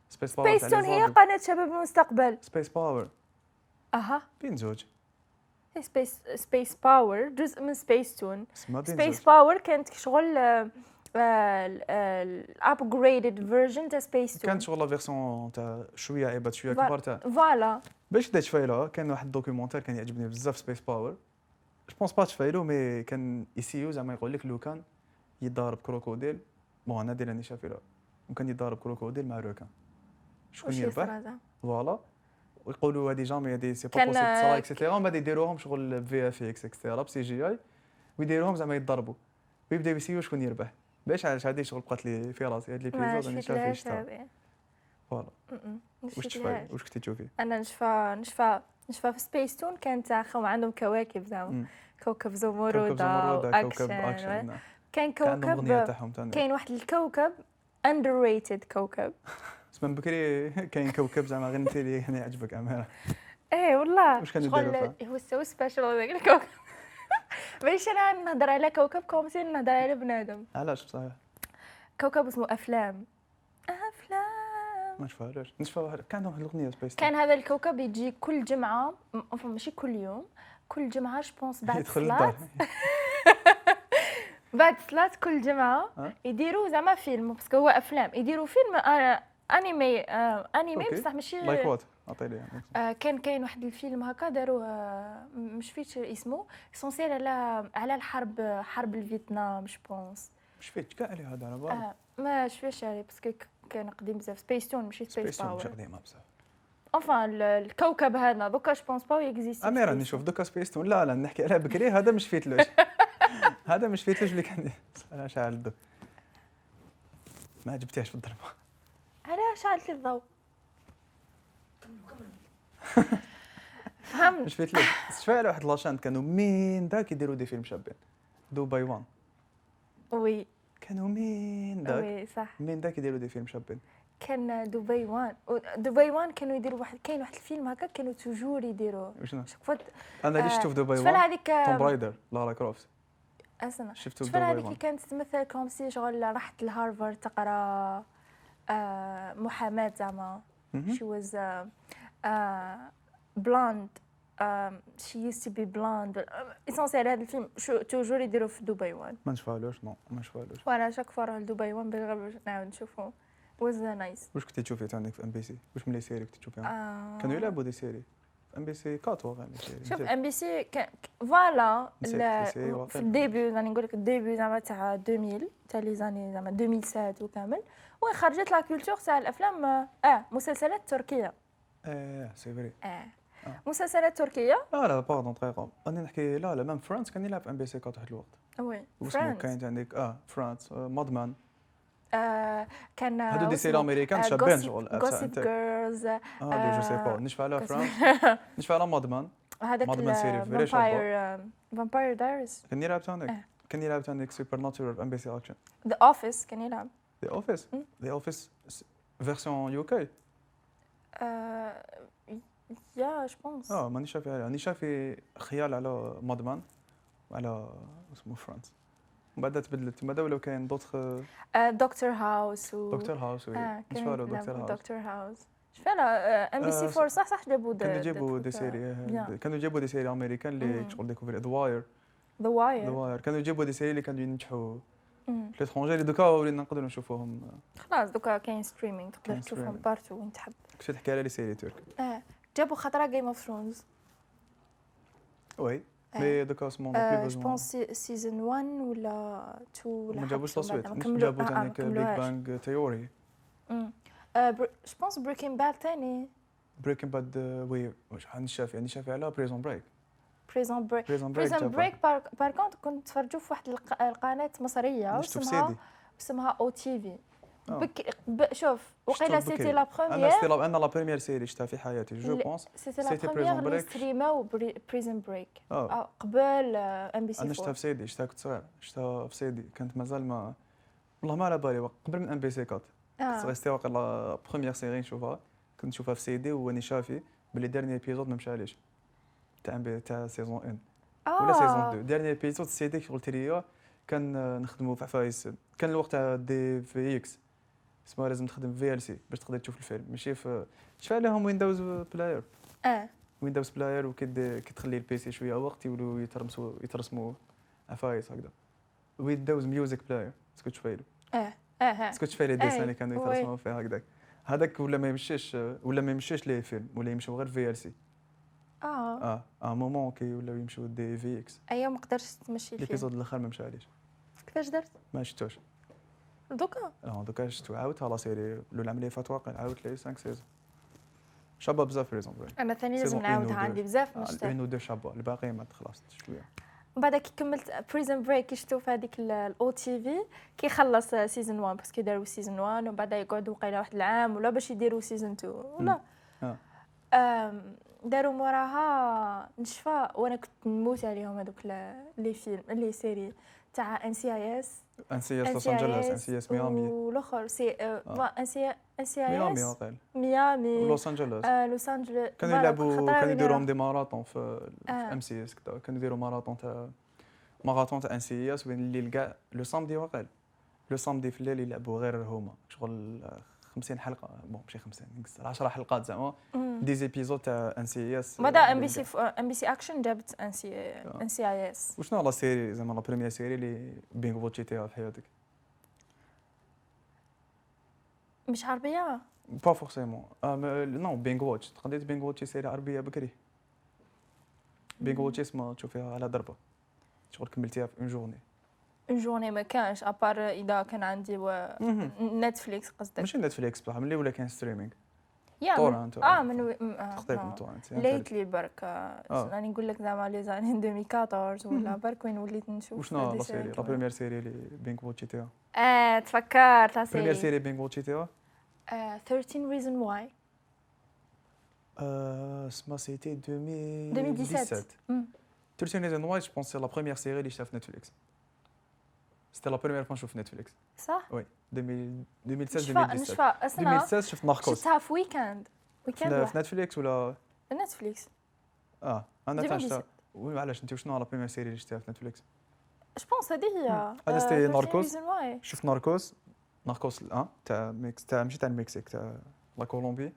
Speaker 3: سبيس باور
Speaker 2: سبيس
Speaker 3: تاع
Speaker 2: تون هي قناه شباب المستقبل
Speaker 3: سبيس باور
Speaker 2: اها
Speaker 3: بين زوج
Speaker 2: سبيس سبيس باور جزء من سبيس تون
Speaker 3: اسمها بين زوج
Speaker 2: سبيس باور كانت شغل آه، الابجريدد فيرجن تاع سبيس تون
Speaker 3: كانت شغل لا فيرسون تاع شويه عيبات شويه
Speaker 2: فوالا.
Speaker 3: كبار تاع
Speaker 2: فوالا
Speaker 3: باش دا تفايلها كان واحد الدوكيومونتير كان يعجبني بزاف سبيس باور جو بونس با تفايلو مي كان يسيو زعما يقول لك لو كان يضارب كروكوديل بون انا دير راني شافيلها وكان يضارب كروكوديل مع روكان شكون
Speaker 2: وش
Speaker 3: يربح
Speaker 2: يصرى زعما؟
Speaker 3: فوالا ويقولوا هادي جامي هادي سي با
Speaker 2: كان-
Speaker 3: بوسيبل صرا اكسيتيرا ومن بعد يديروهم شغل في اف اكس اكسيتيرا بسي جي اي ويديروهم زعما يضربوا ويبداو يسيو شكون يربح باش علاش هادي شغل بقات لي في راسي هاد لي
Speaker 2: ما
Speaker 3: بيزود راني شافيه
Speaker 2: شفتلهاش
Speaker 3: شتا
Speaker 2: هذه
Speaker 3: فوالا
Speaker 2: م-م.
Speaker 3: واش
Speaker 2: شفتلهاش.
Speaker 3: تفايل واش كنتي تشوفي
Speaker 2: انا نشفى نشفى نشفى في سبيس تون كان تاع خو عندهم كواكب زعما
Speaker 3: مم.
Speaker 2: كوكب
Speaker 3: كوكب
Speaker 2: زمردة
Speaker 3: زمرد كوكب
Speaker 2: واكشن
Speaker 3: اكشن نعم.
Speaker 2: كان
Speaker 3: كان عندهم اغنيه
Speaker 2: كوكب
Speaker 3: تاعهم تاني
Speaker 2: كاين واحد الكوكب underrated كوكب
Speaker 3: بس من بكري كاين كوكب زعما غير انت اللي كان يعجبك امانه
Speaker 2: ايه والله
Speaker 3: واش كانوا
Speaker 2: شغل
Speaker 3: يديروا
Speaker 2: هو سو سبيشال هذاك الكوكب ماشي انا نهضر على كوكب كومسي نهضر على بنادم
Speaker 3: علاش بصح
Speaker 2: كوكب اسمه افلام افلام
Speaker 3: ما نشفاهاش نشفى واحد كان عندهم واحد الاغنيه سبيس
Speaker 2: كان هذا الكوكب يجي كل جمعه م- عفوا ماشي كل يوم كل جمعه جوبونس بعد
Speaker 3: يدخل
Speaker 2: الصلاه
Speaker 3: للدار
Speaker 2: بعد الصلاه كل جمعه
Speaker 3: ها؟
Speaker 2: يديروا زعما فيلم باسكو هو افلام يديروا فيلم آه، انيمي آه، انيمي
Speaker 3: أوكي.
Speaker 2: بصح ماشي
Speaker 3: لايك وات عطيني يعني.
Speaker 2: آه، كان كاين واحد الفيلم هكا داروه آه، م- مش فيت اسمه سونسير على على الحرب حرب الفيتنام جو بونس
Speaker 3: مش فيت كاع عليه هذا على بالي
Speaker 2: آه، ما شفيش عليه باسكو ك- كان قديم بزاف سبيس تون ماشي
Speaker 3: سبيس
Speaker 2: سبيس
Speaker 3: تون مش
Speaker 2: باور
Speaker 3: قديمه بصح
Speaker 2: انفا الكوكب هذا دوكا جو بونس باو يكزيستي
Speaker 3: امير راني نشوف دوكا سبيس تون لا لا نحكي عليها بكري هذا مش فيتلوش هذا مش فيتلوش اللي كان انا شاعل دوك ما جبتيهاش في الضربه
Speaker 2: علاه شعلت لي الضوء فهمت
Speaker 3: مش فيتلوش شفت على واحد لاشانت كانوا مين داك يديروا دي فيلم شابين دبي وان
Speaker 2: وي
Speaker 3: كانوا مين داك
Speaker 2: وي صح
Speaker 3: مين داك يديروا دي فيلم شابين
Speaker 2: كان دبي وان و- دبي وان كانوا يديروا واحد كاين واحد الفيلم هكا كانوا توجور يديروه
Speaker 3: وشنو
Speaker 2: شكون
Speaker 3: انا اللي شفته في دبي
Speaker 2: آه، شفنا
Speaker 3: وان
Speaker 2: هذيك
Speaker 3: توم برايدر لارا كروفت
Speaker 2: اسمع
Speaker 3: شفته في
Speaker 2: شفنا
Speaker 3: دبي
Speaker 2: هذيك
Speaker 3: وان
Speaker 2: اللي كانت تمثل كوم سي شغل راحت لهارفارد تقرا آه، محاماة زعما
Speaker 3: مهم.
Speaker 2: she was uh, uh, blonde um, she used to be blonde اسونسيال هذا الفيلم شو توجور يديروا في دبي وان
Speaker 3: ما نشفعلوش نو ما نشفعلوش
Speaker 2: وانا شاك فوا نروح لدبي وان بالغرب باش نعاود نشوفه was nice
Speaker 3: واش كنتي تشوفي عندك في ام بي سي واش من لي سيري كنتي تشوفيها
Speaker 2: آه.
Speaker 3: كانوا يلعبوا دي سيري في ام بي سي 4 واقع لي سيري
Speaker 2: شوف
Speaker 3: نسيت.
Speaker 2: ام بي سي فوالا
Speaker 3: نسيت،
Speaker 2: لا-
Speaker 3: نسيت، واقع.
Speaker 2: في الديبي راني يعني نقول لك الديبي زعما تاع 2000 تاع لي زاني زعما 2007 وكامل وين خرجت لا كولتور تاع الافلام اه مسلسلات تركيه
Speaker 3: اه سي فري
Speaker 2: اه
Speaker 3: آه.
Speaker 2: مسلسلات تركيه
Speaker 3: لا لا باردون دقيقه انا نحكي لا لا مام فرانس كان يلعب في ام بي سي 4 واحد الوقت
Speaker 2: وي
Speaker 3: واسمه
Speaker 2: فريندز
Speaker 3: كاين عندك اه فرانس آه، مادمان
Speaker 2: آه، كان
Speaker 3: هادو دي سيري
Speaker 2: آه،
Speaker 3: امريكان شابين شغل أبسط
Speaker 2: جوسيب
Speaker 3: أنت. اه
Speaker 2: جيرلز
Speaker 3: دي جو سي
Speaker 2: آه،
Speaker 3: با نشفع على
Speaker 2: Gossip-
Speaker 3: فرانس نشفع على مادمان
Speaker 2: هذاك آه،
Speaker 3: مادمان سيري في ريشل
Speaker 2: فامباير فامباير دايرز
Speaker 3: كان يلعب
Speaker 2: آه.
Speaker 3: تانيك كان يلعب تانيك سوبر ناتشورال في ام بي سي اكشن
Speaker 2: ذا اوفيس كان يلعب
Speaker 3: ذا اوفيس
Speaker 2: مم.
Speaker 3: ذا اوفيس فيرسيون يو كي
Speaker 2: آه، يا جو بونس
Speaker 3: اه ماني شافي عليها راني شافي خيال على مادمان وعلى اسمه فرانس من بعد تبدلت من بعد ولاو كاين دوتخ
Speaker 2: دكتور هاوس آه، و
Speaker 3: دكتور هاوس وي
Speaker 2: اه كان
Speaker 3: نشفع على
Speaker 2: يلعب
Speaker 3: دكتور هاوس
Speaker 2: دكتور هاوس شفنا ام بي سي
Speaker 3: آه،
Speaker 2: 4 صح صح جابوا
Speaker 3: كانوا يجيبوا دي سيري
Speaker 2: Yeah.
Speaker 3: آه، كانوا يجيبوا دي سيري امريكان
Speaker 2: مم.
Speaker 3: اللي شغل ديكوفري ذا واير
Speaker 2: ذا
Speaker 3: ذا
Speaker 2: واير
Speaker 3: واير كانوا يجيبوا دي سيري اللي كانوا ينجحوا في ليترونجي اللي دوكا ولينا نقدروا نشوفوهم
Speaker 2: Mm. خلاص دوكا كاين ستريمينغ تقدر
Speaker 3: كاين
Speaker 2: تشوفهم
Speaker 3: streaming.
Speaker 2: بارتو وين تحب
Speaker 3: كنت تحكي على لي سيري ترك
Speaker 2: اه جابوا خطره جيم اوف ثرونز
Speaker 3: وي
Speaker 2: آه.
Speaker 3: مي دوكا اسمهم
Speaker 2: جو بونس سيزون 1 ولا 2 ولا
Speaker 3: ما
Speaker 2: حاجة
Speaker 3: جابوش
Speaker 2: بعد،
Speaker 3: تصويت
Speaker 2: ما
Speaker 3: مش
Speaker 2: كملو-
Speaker 3: جابوا
Speaker 2: آه، آه، ما
Speaker 3: تانيك بيج
Speaker 2: كملوهاش.
Speaker 3: بانج تيوري
Speaker 2: مم. آه، بر- جو بونس بريكين باد تاني
Speaker 3: بريكنج باد وي واش عندي شافي عندي شافي على بريزون بريك
Speaker 2: بريزون بريك
Speaker 3: بريزون بريك
Speaker 2: بريزون بريك بار كونت كنت تفرجوا في واحد الق- القناه مصريه
Speaker 3: شفتو
Speaker 2: اسمها
Speaker 3: بسيدي
Speaker 2: اسمها او تي في
Speaker 3: آه.
Speaker 2: بك... ب... شوف وقيلا
Speaker 3: بكري.
Speaker 2: سيتي لا
Speaker 3: انا
Speaker 2: بروميير
Speaker 3: سيتي لا- انا لا بريمير سيري شفتها في حياتي جو
Speaker 2: لا.
Speaker 3: بونس
Speaker 2: سيتي
Speaker 3: سيتي
Speaker 2: لا
Speaker 3: بريزون
Speaker 2: بروميير اللي
Speaker 3: بريك.
Speaker 2: ستريماو بريزون بريك
Speaker 3: اه
Speaker 2: قبل ام بي سي
Speaker 3: انا شفتها
Speaker 2: 4
Speaker 3: في سيدي شفتها كنت صغير شفتها في سيدي كانت مازال ما والله ما على بالي وق- قبل من ام بي سي 4
Speaker 2: آه.
Speaker 3: ريستي واقيلا بروميير سيري نشوفها كنت نشوفها في سيدي واني شافي بلي ديرني ابيزود ما مشاليش تاع ام بي تاع سيزون 1
Speaker 2: Ah.
Speaker 3: ولا سيزون 2 ديرني ابيزود سيدي كي قلت ليا كان آه، نخدمو في عفايس كان الوقت تاع دي في اكس اسمها لازم تخدم في ال سي باش تقدر تشوف الفيلم ماشي في شفت عليهم ويندوز بلاير
Speaker 2: اه
Speaker 3: ويندوز بلاير وكي كتخلي البيسي شويه وقت يولوا يترمسوا يترسموا عفايس هكذا ويندوز ميوزك بلاير اسكو تشفايلو
Speaker 2: اه اه
Speaker 3: اسكو تشفايلو الديسان
Speaker 2: أي،
Speaker 3: اللي كانوا
Speaker 2: وي.
Speaker 3: يترسموا فيه هكذاك هذاك ولا ما يمشيش ولا ما يمشيش ليه فيلم ولا يمشيو غير في ال سي
Speaker 2: اه
Speaker 3: اه اه مومون كي ولاو يمشيو دي في اكس
Speaker 2: ايا ما قدرتش تمشي الفيلم
Speaker 3: ليبيزود الاخر ما مشاليش
Speaker 2: كيفاش درت
Speaker 3: ما شفتوش
Speaker 2: دوكا
Speaker 3: اه دوكا شفتو عاودتها لا سيري لو العام اللي فات واقع عاودت لي 5 سيزون شابه بزاف في ريزون فري
Speaker 2: انا ثاني
Speaker 3: سي
Speaker 2: لازم
Speaker 3: بون، إنه
Speaker 2: نعاودها
Speaker 3: دو.
Speaker 2: عندي بزاف ما شفتها
Speaker 3: اون و دو شابه الباقي ما خلاص شويه
Speaker 2: من بعد كي كملت بريزن بريك كي شفتو في هذيك الاو تي في كي خلص سيزون 1 باسكو داروا سيزون 1 ومن بعد يقعدوا وقيلا واحد العام ولا باش يديروا سيزون 2 ولا
Speaker 3: آه.
Speaker 2: آم، داروا موراها نشفى وانا كنت نموت عليهم هذوك ال- لي فيلم لي سيري تاع ان سي اي اس
Speaker 3: انسياس لوس انجلوس انسياس ميامي آه.
Speaker 2: والاخر سي آه، ان سي ان سي اي
Speaker 3: ميامي
Speaker 2: اس
Speaker 3: واقيلا
Speaker 2: ميامي
Speaker 3: لوس انجلوس
Speaker 2: آه، لوس انجلوس
Speaker 3: كانوا
Speaker 2: فوالا،
Speaker 3: يلعبوا
Speaker 2: خطرة
Speaker 3: كانوا
Speaker 2: وين
Speaker 3: يديروا
Speaker 2: يلعب.
Speaker 3: هم دي ماراطون في
Speaker 2: آه.
Speaker 3: ام سي اس كدا كانوا يديروا ماراطون تاع ماراطون تاع ان سي اس وين الليل كاع لو سامدي واقيلا لو سامدي في الليل يلعبوا غير هما شغل 50 حلقه بون ماشي 50 نقصر 10 حلقات زعما
Speaker 2: مم.
Speaker 3: دي زيبيزود تاع ان سي اس
Speaker 2: بعد ام بي سي ام بي سي اكشن جابت ان سي ان سي اي اس
Speaker 3: وشنو لا سيري زعما لا بريمير سيري اللي بينغ واتشيتيها إيه في حياتك آه.
Speaker 2: مش عربيه
Speaker 3: با فورسيمون نو بينغ واتش تقدر بينغ واتشي سيري عربيه بكري بينغ واتشي اسمها تشوفيها على ضربه شغل كملتيها في اون جورني
Speaker 2: اون جورني ما كانش ابار اذا كان عندي و... نتفليكس قصدك
Speaker 3: ماشي نتفليكس بصح ملي ولا كان ستريمينغ
Speaker 2: يا من...
Speaker 3: تورنت
Speaker 2: اه من وي... م- آه،
Speaker 3: خطيت من
Speaker 2: نو.
Speaker 3: تورنت
Speaker 2: ليتلي برك آه،
Speaker 3: يعني آه.
Speaker 2: راني نقول لك زعما لي زاني 2014 ولا برك وين وليت نشوف
Speaker 3: وشنو
Speaker 2: دي
Speaker 3: لا سيري لا
Speaker 2: كمان.
Speaker 3: بريمير سيري اللي بينغ واتشيتيها
Speaker 2: اه تفكرت لا
Speaker 3: بريمير
Speaker 2: سيري
Speaker 3: سيري بينغ واتشيتيها
Speaker 2: آه، 13 reason why
Speaker 3: Euh, اسمها سيتي
Speaker 2: 2017.
Speaker 3: 2017
Speaker 2: مم.
Speaker 3: 13 ريزون واي جو بونس سي لا بريمير سيري اللي شفتها في نتفليكس سيتي لا بروميير فوا نشوف نتفليكس
Speaker 2: صح
Speaker 3: 2000
Speaker 2: نشفى
Speaker 3: 2016 2017
Speaker 2: نشفى اسمع
Speaker 3: 2016 شفت ناركوس
Speaker 2: شفتها في ويكاند ويكاند
Speaker 3: في
Speaker 2: واحد
Speaker 3: نتفليكس ولا
Speaker 2: نتفليكس
Speaker 3: اه انا تاع
Speaker 2: 2017.
Speaker 3: شتا وي علاش انت وشنو لا بروميير سيري اللي شفتها في نتفليكس
Speaker 2: جو بونس هذه هي
Speaker 3: هذا
Speaker 2: آه،
Speaker 3: سيتي
Speaker 2: ثلاثين
Speaker 3: ناركوس.
Speaker 2: reason why.
Speaker 3: شفت ناركوس ناركوس الان تاع ميكس تاع ماشي تاع المكسيك تاع لا كولومبي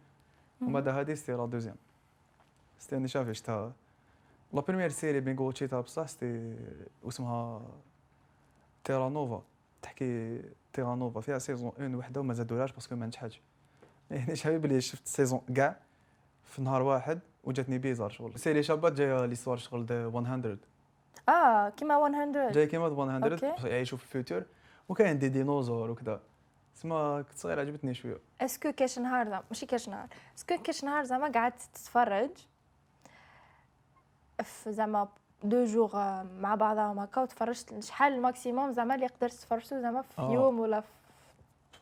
Speaker 3: ومن بعد هادي سيتي لا دوزيام سيتي انا شافي شتها لا بروميير سيري بينغو تشيتا بصح سيتي اسمها تيرا نوفا تحكي تيرا نوفا فيها سيزون 1 وحده وما زادولهاش باسكو ما نجحتش يعني شافي بلي شفت سيزون كاع في نهار واحد وجاتني بيزار شغل سيري شابات جايه ليستوار شغل دو 100
Speaker 2: اه كيما 100
Speaker 3: جاي كيما 100
Speaker 2: أوكي.
Speaker 3: بصح يعيشوا في الفيوتشر وكاين دي ديناصور وكذا تسمى كنت صغير عجبتني شويه
Speaker 2: اسكو كاش نهار زعما ماشي كاش نهار اسكو كاش نهار زعما قعدت تتفرج في زعما دو جوغ آه، مع بعضهم هكا وتفرجت شحال الماكسيموم زعما اللي قدرت تفرجتو زعما في
Speaker 3: آه.
Speaker 2: يوم ولا في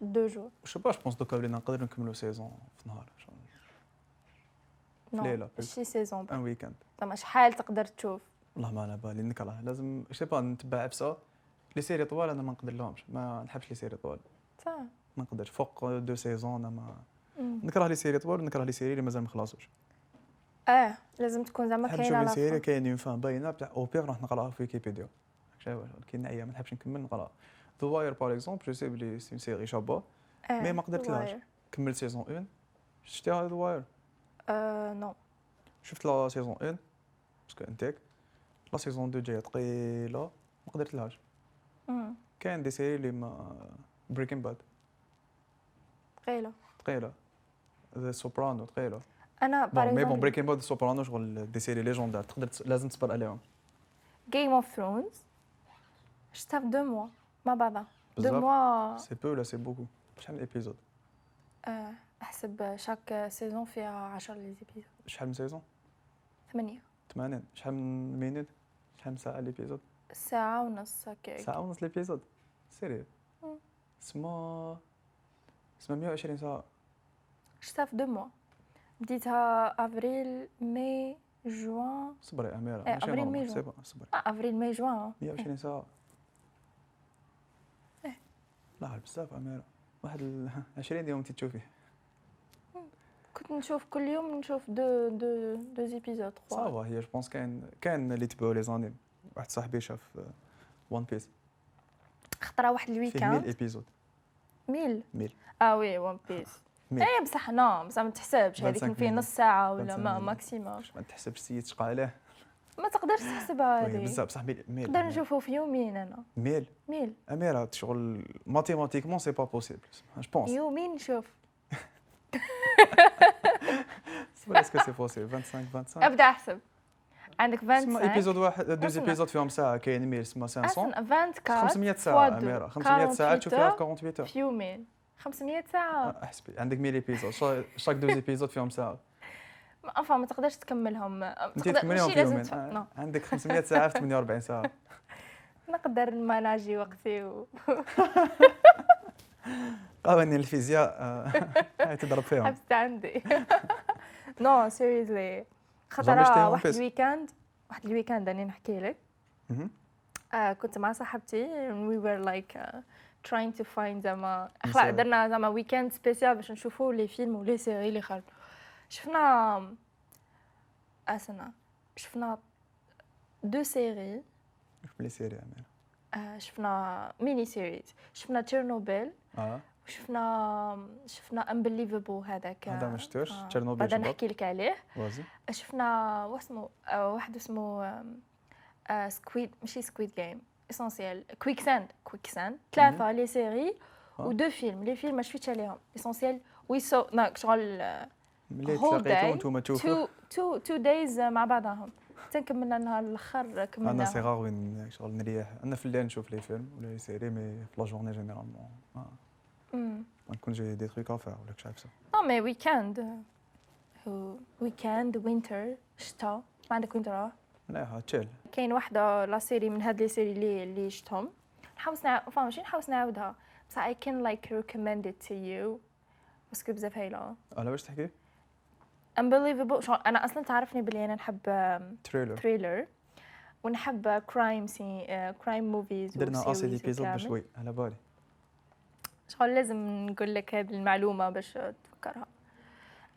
Speaker 2: دو جوغ
Speaker 3: جو با جو بونس دوكا ولينا نقدروا نكملوا سيزون في نهار شغل ليلة.
Speaker 2: نو ماشي سيزون
Speaker 3: ان ويكاند
Speaker 2: زعما شحال تقدر تشوف
Speaker 3: والله ما على بالي نكره لازم شي با نتبع عبسه لي سيري طوال انا ما نقدر لهمش ما نحبش لي سيري طوال
Speaker 2: صح
Speaker 3: ما نقدرش فوق دو سيزون انا ما
Speaker 2: مم.
Speaker 3: نكره لي سيري طوال ونكره لي سيري اللي مازال ما خلصوش
Speaker 2: اه لازم تكون زعما
Speaker 3: نحب
Speaker 2: كاينه
Speaker 3: نشوف لي
Speaker 2: على
Speaker 3: سيري
Speaker 2: فين.
Speaker 3: كاين اون فان باينه بتاع او بيغ راح نقراها في ويكيبيديا شايف كي نعيا ما نحبش نكمل نقراها ذا واير باغ اكزومبل جو سي بلي سي سيري شابه
Speaker 2: آه،
Speaker 3: مي ما قدرت لهاش.
Speaker 2: Wire.
Speaker 3: كملت سيزون 1 شفتيها ذا واير
Speaker 2: آه، نو
Speaker 3: شفت لا سيزون 1 باسكو انتيك لا سيزون 2 جايه ثقيله ما قدرت لهاش
Speaker 2: مم،
Speaker 3: كاين دي سيري اللي ما بريكين باد
Speaker 2: ثقيله
Speaker 3: ثقيله ذا سوبرانو ثقيله
Speaker 2: انا
Speaker 3: بون مي بون
Speaker 2: باغ
Speaker 3: بريكين باد سوبرانو شغل دي سيري ليجوندار تقدر تس- لازم تصبر عليهم
Speaker 2: جيم اوف ثرونز شفتها في دو موا مع بعضها دو
Speaker 3: بزاف.
Speaker 2: موا
Speaker 3: سي بو ولا سي بوكو شحال من ايبيزود
Speaker 2: آه، احسب شاك سيزون فيها 10 ليزيبيزود
Speaker 3: شحال من سيزون
Speaker 2: ثمانية
Speaker 3: 80 شحال من مينوت شحال من ساعه ليبيزود
Speaker 2: ساعة ونص هكا
Speaker 3: ساعه ونص ليبيزود سيري
Speaker 2: مم.
Speaker 3: سما سما 120 ساعه
Speaker 2: شفتها في دو موا بديتها افريل مي جوان
Speaker 3: صبري يا اميره
Speaker 2: إيه،
Speaker 3: ماشي
Speaker 2: أبريل،
Speaker 3: مرمى.
Speaker 2: مي جون.
Speaker 3: سي بون، صبري
Speaker 2: آه، افريل مي جوان
Speaker 3: 120 ساعة
Speaker 2: إيه.
Speaker 3: لا بزاف عميرة واحد ال 20 يوم تتشوفي
Speaker 2: كنت نشوف كل يوم نشوف دو دو دو زيبيزود 3
Speaker 3: صافا هي جو بونس كاين كاين اللي تبعوا لي زانيم واحد صاحبي شاف ون بيس
Speaker 2: خطرة واحد
Speaker 3: فيه 1000
Speaker 2: الويكاند
Speaker 3: ايبيزود
Speaker 2: 1000
Speaker 3: ميل.
Speaker 2: اه وي ون بيس
Speaker 3: 1000.
Speaker 2: اي بصح نو بصح ما تحسبش هذيك
Speaker 3: 25
Speaker 2: فيه نص ساعة ولا
Speaker 3: 25
Speaker 2: ما
Speaker 3: مينوت.
Speaker 2: ماكسيموم
Speaker 3: ما تحسبش السيد شقى عليه
Speaker 2: ما تقدرش تحسبها
Speaker 3: وي،
Speaker 2: هذه
Speaker 3: بزاف بصح ميل ميل
Speaker 2: نقدر
Speaker 3: عميرة.
Speaker 2: نشوفه في يومين انا
Speaker 3: ميل
Speaker 2: ميل
Speaker 3: اميره شغل ماتيماتيكمون سي با بوسيبل جو بونس
Speaker 2: يومين نشوف
Speaker 3: صبري اسكو سي بوسيبل 25 25
Speaker 2: ابدا احسب عندك 25
Speaker 3: سما ايبيزود واحد دوز
Speaker 2: اسمع.
Speaker 3: ايبيزود فيهم ساعه كاين ميل سما 500
Speaker 2: اصلا 24
Speaker 3: 500
Speaker 2: فوا
Speaker 3: ساعه
Speaker 2: دو،
Speaker 3: اميره 500 ساعه
Speaker 2: 48
Speaker 3: تشوفيها في
Speaker 2: heures. Ah.
Speaker 3: 48 ساعه
Speaker 2: في يومين 500 ساعة
Speaker 3: احسبي Ah, عندك 1000 ايبيزود شا- شاك دوز ايبيزود فيهم ساعه
Speaker 2: ما انفا ما تقدرش تكملهم
Speaker 3: انت
Speaker 2: تقدر-
Speaker 3: تكمليهم
Speaker 2: ماشي
Speaker 3: في
Speaker 2: لازم
Speaker 3: يومين
Speaker 2: تف- نعم. نو.
Speaker 3: آه، عندك 500 ساعه في 48 ساعه
Speaker 2: نقدر نماناجي وقتي و...
Speaker 3: قوانين الفيزياء آه، هاي تضرب فيهم
Speaker 2: حبست عندي نو سيريزلي
Speaker 3: زعما شتيهم
Speaker 2: خطرة واحد
Speaker 3: بس.
Speaker 2: الويكاند واحد الويكاند راني نحكي لك
Speaker 3: مهم.
Speaker 2: آه كنت مع صاحبتي and we were like uh, trying to find زعما
Speaker 3: نساء.
Speaker 2: خلا درنا زعما ويكاند سبيسيال باش نشوفوا لي فيلم ولي سيري اللي خرجوا شفنا اسنا شفنا دو سيري
Speaker 3: شوف لي سيري عمير
Speaker 2: آه شفنا ميني سيريز شفنا تشيرنوبيل
Speaker 3: اه
Speaker 2: وشفنا شفنا انبليفبل هذاك
Speaker 3: هذا ما شفتوش،
Speaker 2: آه،
Speaker 3: تشيرنوبيل
Speaker 2: بعدا
Speaker 3: شباب.
Speaker 2: نحكي لك عليه
Speaker 3: وازي
Speaker 2: شفنا واسمه آه، واحد اسمه سكويد ماشي سكويد جيم اسونسيال كويك ساند كويك ساند ثلاثه لي سيري
Speaker 3: آه.
Speaker 2: ودو فيلم لي فيلم ما شفتش عليهم اسونسيال وي سو نا شغل
Speaker 3: ملي
Speaker 2: whole
Speaker 3: تلاقيتو
Speaker 2: day
Speaker 3: نتوما تشوفوا
Speaker 2: تو تو تو دايز مع بعضهم حتى كملنا النهار الاخر
Speaker 3: انا
Speaker 2: كملنا
Speaker 3: صغار وين شغل نريح انا في الليل نشوف لي فيلم ولا لي سيري مي في لا جورني جينيرالمون آه،
Speaker 2: مم.
Speaker 3: ما نكون جاي دي تخيك افير ولا كش عارف سا
Speaker 2: اه مي ويكاند ويكاند وينتر شتا ما عندك وينتر آه.
Speaker 3: مليحه تشيل
Speaker 2: كاين واحدة لا سيري من هاد لي سيري اللي اللي شفتهم نحوس نع... فا ماشي نحوس نعاودها بصح I can like recommend it to you باسكو بزاف هايلة
Speaker 3: على واش تحكي unbelievable
Speaker 2: unbelievable شغل انا اصلا تعرفني بلي انا نحب
Speaker 3: تريلر
Speaker 2: ثريلر ونحب آه، كرايم سي كرايم موفيز
Speaker 3: درنا اسي دي بيزود بشوي على بالي
Speaker 2: شغل لازم نقول لك هذه المعلومه باش تفكرها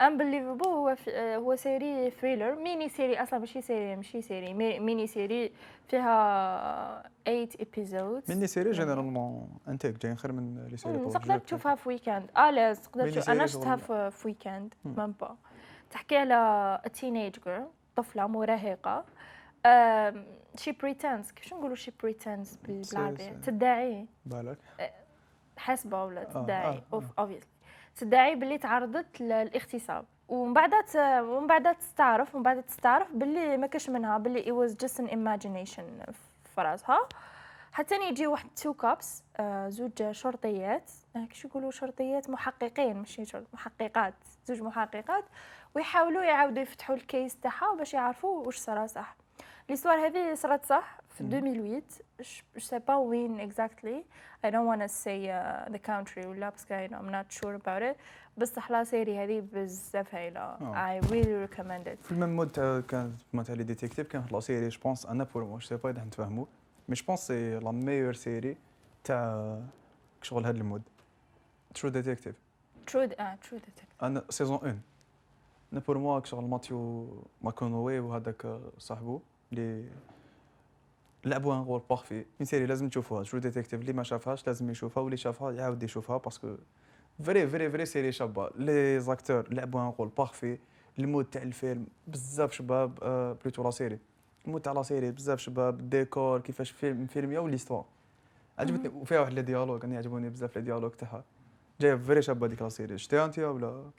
Speaker 2: انبليفبل هو في آه، هو سيري ثريلر ميني سيري اصلا ماشي سيري ماشي سيري مي- ميني سيري فيها 8 episodes
Speaker 3: مني سيري جينيرالمون انتيك جايين خير من لي سيري
Speaker 2: مم،
Speaker 3: طوال.
Speaker 2: تقدر تشوفها في ويكاند اه لا تقدر
Speaker 3: ميني
Speaker 2: تشوف انا
Speaker 3: سيريز
Speaker 2: شفتها
Speaker 3: ولا-
Speaker 2: في في ويكاند
Speaker 3: مم.
Speaker 2: مام با تحكي على تينيج جيرل طفله مراهقه آم، شي بريتنس كيفاش نقولوا شي بريتنس
Speaker 3: سي-
Speaker 2: بالعربيه
Speaker 3: سي.
Speaker 2: تدعي
Speaker 3: بالك
Speaker 2: حاسبه ولا تدعي
Speaker 3: آه.
Speaker 2: اوبفيسلي تدعي باللي تعرضت للاغتصاب ومن بعدها ت- ومن بعدها تستعرف ومن بعدها تستعرف باللي ما كاش منها باللي it was just an imagination في راسها حتى يجي واحد تو كابس زوج شرطيات آه، كيش يقولوا شرطيات محققين ماشي شرط محققات زوج محققات ويحاولوا يعاودوا يفتحوا الكيس تاعها باش يعرفوا واش صرا صح ليستوار هذه صرات صح في
Speaker 3: مم.
Speaker 2: 2008 ش سي با وين اكزاكتلي I don't want to say uh, the country ولا بس I know I'm not sure about it بصح لا سيري هذه بزاف هايلة
Speaker 3: آه.
Speaker 2: I really recommend it
Speaker 3: في الميم مود تاع كان ما تاع لي ديتيكتيف كان لا سيري جو بونس انا بور مو جو با اذا نتفاهموا مي جو بونس سي لا ميور سيري تاع شغل هذا المود ترو ديتيكتيف
Speaker 2: True اه True Detective
Speaker 3: انا سيزون 1 انا بور موا شغل ماتيو ماكونوي وهذاك صاحبو اللي لعبوا ان رول بارفي اون سيري لازم تشوفوها ترو ديتيكتيف اللي ما شافهاش لازم يشوفها واللي شافها يعاود يشوفها باسكو فري فري فري سيري شابه لي زاكتور لعبوا ان رول بارفي المود تاع الفيلم بزاف شباب آه بلوتو لا سيري المود تاع لا سيري بزاف شباب الديكور كيفاش فيلم فيلميه وليستوار عجبتني وفيها واحد لي ديالوج انا يعجبوني بزاف لي ديالوج تاعها جايه فري شابه ديك لا سيري شتيها انت ولا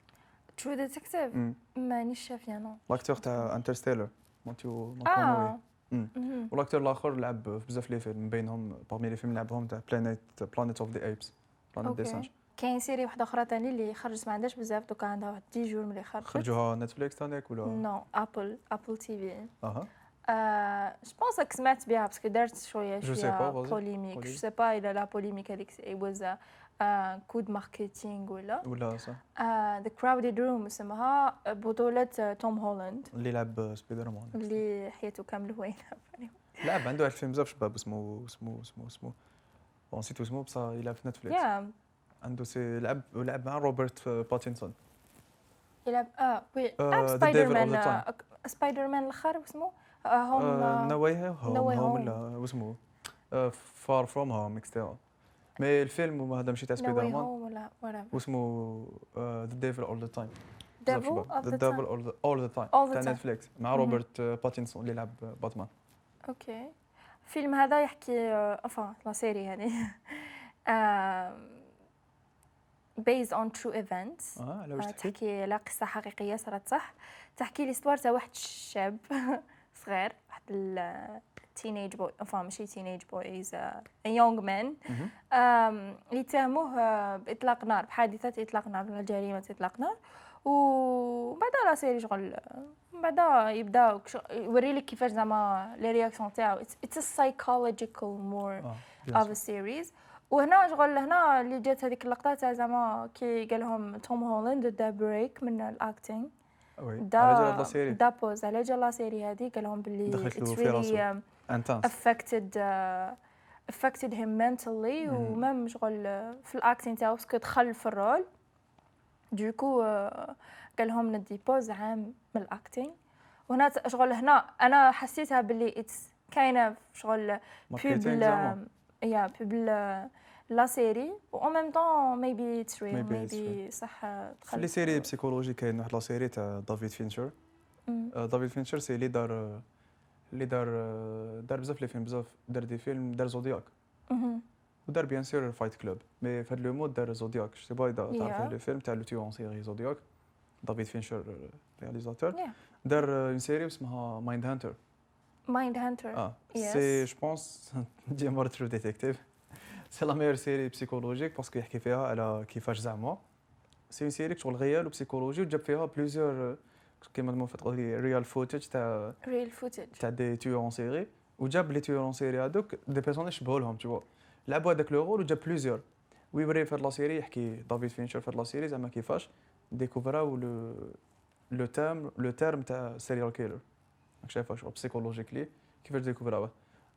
Speaker 2: True Detective
Speaker 3: مم.
Speaker 2: مانيش شافيها نو
Speaker 3: لاكتور تاع انترستيلر مونتيو ماكونوي
Speaker 2: اه
Speaker 3: مم.
Speaker 2: مهم.
Speaker 3: والاكتور الاخر لعب في بزاف لي فيلم بينهم باغمي لي فيلم لعبهم تاع بلانيت بلانيت اوف ذا ايبس بلانيت دي
Speaker 2: أوكي.
Speaker 3: سانج
Speaker 2: كاين سيري واحدة أخرى تاني اللي خرجت ما عندهاش بزاف دوكا عندها واحد 10 جور ملي خرجت
Speaker 3: خرجوها نتفليكس تانيك ولا
Speaker 2: نو أبل أبل تي في
Speaker 3: اها Euh,
Speaker 2: جو بونس راك سمعت بها باسكو دارت شويه
Speaker 3: Je sais
Speaker 2: شويه
Speaker 3: pas, vas-y.
Speaker 2: بوليميك جو
Speaker 3: Polémique.
Speaker 2: سي با الا لا بوليميك هذيك اي واز كود ماركتينغ ولا
Speaker 3: ولا صح Euh,
Speaker 2: ذا كراودد روم اسمها آه، بطوله آه، توم هولاند
Speaker 3: اللي لعب سبايدر مان
Speaker 2: اللي حياته كامل هو
Speaker 3: لعب عنده واحد الفيلم بزاف شباب اسمه اسمه اسمه اسمه بون نسيت اسمه بصح يلعب في نتفليكس
Speaker 2: يا
Speaker 3: عنده سي لعب لعب مع روبرت باتينسون
Speaker 2: يلعب
Speaker 3: ah,
Speaker 2: اه وي
Speaker 3: آه،
Speaker 2: لعب
Speaker 3: Euh, The
Speaker 2: سبايدر
Speaker 3: Devil of
Speaker 2: مان
Speaker 3: the
Speaker 2: آه، سبايدر مان الاخر اسمه
Speaker 3: Euh,
Speaker 2: هوم
Speaker 3: نواي هوم
Speaker 2: No Way
Speaker 3: هوم
Speaker 2: euh, Home.
Speaker 3: ولا واسمه euh, فار فروم هوم اكسترا مي الفيلم هذا ماشي تاع سبايدر مان
Speaker 2: هوم ولا ولا
Speaker 3: واسمه آه، ذا ديفل اول ذا تايم
Speaker 2: ديفل اوف ذا
Speaker 3: ذا ديفل
Speaker 2: تايم
Speaker 3: اول ذا تايم
Speaker 2: All the
Speaker 3: تاع
Speaker 2: Time.
Speaker 3: نتفليكس مع
Speaker 2: مهم.
Speaker 3: روبرت باتينسون اللي لعب باتمان
Speaker 2: اوكي الفيلم هذا يحكي آه، افا لا سيري يعني بيز اون ترو ايفنتس
Speaker 3: اه على واش تحكي
Speaker 2: آه، تحكي على قصه حقيقيه صارت صح تحكي لي ستوار تاع واحد الشاب صغير واحد التينيج بوي افا ماشي تينيج بوي از يونغ مان
Speaker 3: مهم.
Speaker 2: آم، اللي تهموه آه، باطلاق نار بحادثه اطلاق نار ولا جريمه اطلاق نار وبعدا لا سيري شغل بعدا يبدا يوري لك كيفاش زعما لي رياكسيون تاعو اتس سايكولوجيكال مور
Speaker 3: اه
Speaker 2: اوف
Speaker 3: بيان سور.
Speaker 2: سيريز وهنا شغل هنا اللي جات هذيك اللقطه تاع زعما كي قال لهم توم هولاند دا بريك من الاكتينغ
Speaker 3: وي. على جال هاد
Speaker 2: دا
Speaker 3: لا سيري
Speaker 2: دا بوز على جال لا سيري هذه قال لهم باللي
Speaker 3: دخلت له
Speaker 2: it's
Speaker 3: في
Speaker 2: really,
Speaker 3: راسه.
Speaker 2: um,
Speaker 3: انتانس
Speaker 2: affected uh, affected him mentally
Speaker 3: مم.
Speaker 2: ومام شغل uh, في الاكتين تاعو باسكو دخل في الرول دوكو قال لهم نديبوز عام من الاكتين وهنا ت- شغل هنا انا حسيتها باللي اتس كاينه شغل
Speaker 3: ماركتينغ
Speaker 2: بيبل
Speaker 3: زعما
Speaker 2: يا بيبل لا سيري و en même temps maybe it's real
Speaker 3: Maybe it's
Speaker 2: maybe صح uh,
Speaker 3: في لي سيري بسيكولوجي كاين واحد لا سيري تاع دافيد فينشر
Speaker 2: مم.
Speaker 3: آه، دافيد فينشر سي اللي دار آه، اللي دار آه، دار بزاف لي فيلم بزاف دار دي فيلم دار زودياك
Speaker 2: مهم.
Speaker 3: ودار بيان سور فايت كلوب مي في هاد لو مود دار زودياك جو سي با اذا
Speaker 2: Yeah.
Speaker 3: تعرف لو فيلم تاع لو تيو اون سيري زودياك دافيد فينشر آه، رياليزاتور
Speaker 2: Yeah.
Speaker 3: دار آه، اون سيري اسمها مايند هانتر
Speaker 2: Mind Hunter
Speaker 3: اه
Speaker 2: Yes.
Speaker 3: سي جو بونس دي مور ترو ديتيكتيف سي لا ميور سيري بسيكولوجيك باسكو يحكي فيها على كيفاش زعما سي اون سيري شغل غيال وبسيكولوجي وجاب فيها بليزيور كيما ما تقول لي ريال فوتج تاع
Speaker 2: real footage
Speaker 3: تاع دي تيور اون سيري وجاب لي تيور اون سيري هذوك دي بيرسوناج شبهوا لهم تشوا لعبوا هذاك لو رول وجاب بليزيور ويوري في هاد لا سيري يحكي دافيد فينشر في هاد لا سيري زعما كيفاش ديكوفراو لو لو تيرم لو تيرم تاع سيريال كيلر شايفها شغل بسيكولوجيكلي كيفاش ديكوفراوه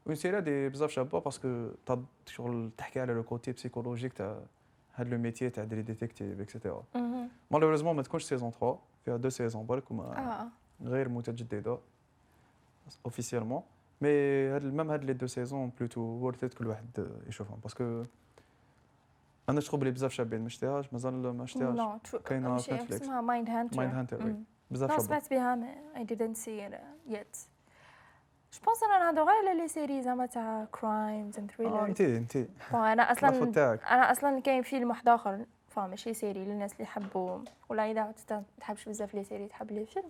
Speaker 3: اون سيري هادي بزاف شابه باسكو تا- شغل تحكي على لو كوتي بسيكولوجيك تاع هاد لو ميتي تاع دري ديتيكتيف اكسيتيرا
Speaker 2: مهم.
Speaker 3: مالوريزمون ما تكونش سيزون 3 فيها دو سيزون برك وما
Speaker 2: اه
Speaker 3: غير متجدده اوفيسيالمون مي هاد ميم هاد لي دو سيزون بلوتو وورث كل واحد يشوفهم باسكو انا شغل بلي بزاف شابين ما شتيهاش مازال ما شتيهاش
Speaker 2: نو تشو
Speaker 3: كاينة
Speaker 2: ماشي
Speaker 3: في Netflix.
Speaker 2: اسمها مايند هانتر
Speaker 3: Mind Hunter، وي.
Speaker 2: Mm.
Speaker 3: بزاف
Speaker 2: نو
Speaker 3: شابه
Speaker 2: سمعت بها مي اي didn't سي it uh, yet جو بونس انا نهضر غير على لي سيري زعما تاع كرايمز اند
Speaker 3: اه
Speaker 2: ثريلرز
Speaker 3: انت انت
Speaker 2: انا
Speaker 3: العفو
Speaker 2: اصلا
Speaker 3: تاعك
Speaker 2: انا اصلا كاين فيلم واحد اخر فا ماشي سيري للناس اللي يحبوا ولا اذا ت- ما تحبش بزاف لي سيري تحب لي فيلم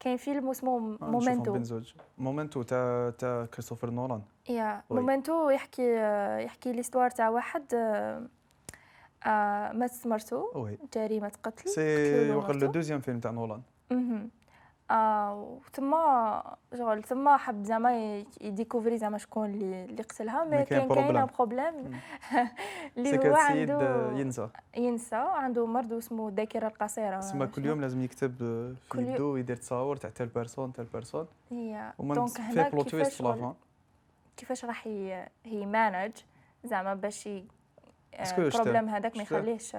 Speaker 2: كاين فيلم
Speaker 3: آه،
Speaker 2: اسمه مومنتو
Speaker 3: بنزوج مومنتو تاع تاع كريستوفر نولان
Speaker 2: يا
Speaker 3: وي.
Speaker 2: مومنتو يحكي يحكي ليستوار تاع واحد آه، آه، مات مرتو
Speaker 3: وي
Speaker 2: جريمة قتل
Speaker 3: سي
Speaker 2: قتلوا
Speaker 3: وقال
Speaker 2: مرته.
Speaker 3: لو دوزيام فيلم تاع نولان
Speaker 2: مهم. آه وتما شغل تما حب زعما ي- يديكوفري زعما شكون اللي اللي قتلها
Speaker 3: مي
Speaker 2: مي
Speaker 3: كاين
Speaker 2: كان كاين
Speaker 3: بروبلام.
Speaker 2: بروبليم
Speaker 3: سي
Speaker 2: اللي هو
Speaker 3: كان سيد
Speaker 2: عنده
Speaker 3: ينسى
Speaker 2: ينسى عنده مرض اسمه الذاكرة القصيرة
Speaker 3: تسمى كل يوم لازم يكتب آه، في
Speaker 2: كل يوم.
Speaker 3: يدو يدير تصاور تاع تال بيرسون تال بيرسون
Speaker 2: هي
Speaker 3: ومن
Speaker 2: دونك
Speaker 3: في
Speaker 2: هنا
Speaker 3: بلوت تويست في
Speaker 2: كيفاش وال-
Speaker 3: لافان
Speaker 2: كيفاش راح ي- هي مانج زعما باش
Speaker 3: Est-ce que je t'ai-
Speaker 2: البروبليم هذاك ما
Speaker 3: je t'ai-
Speaker 2: يخليهش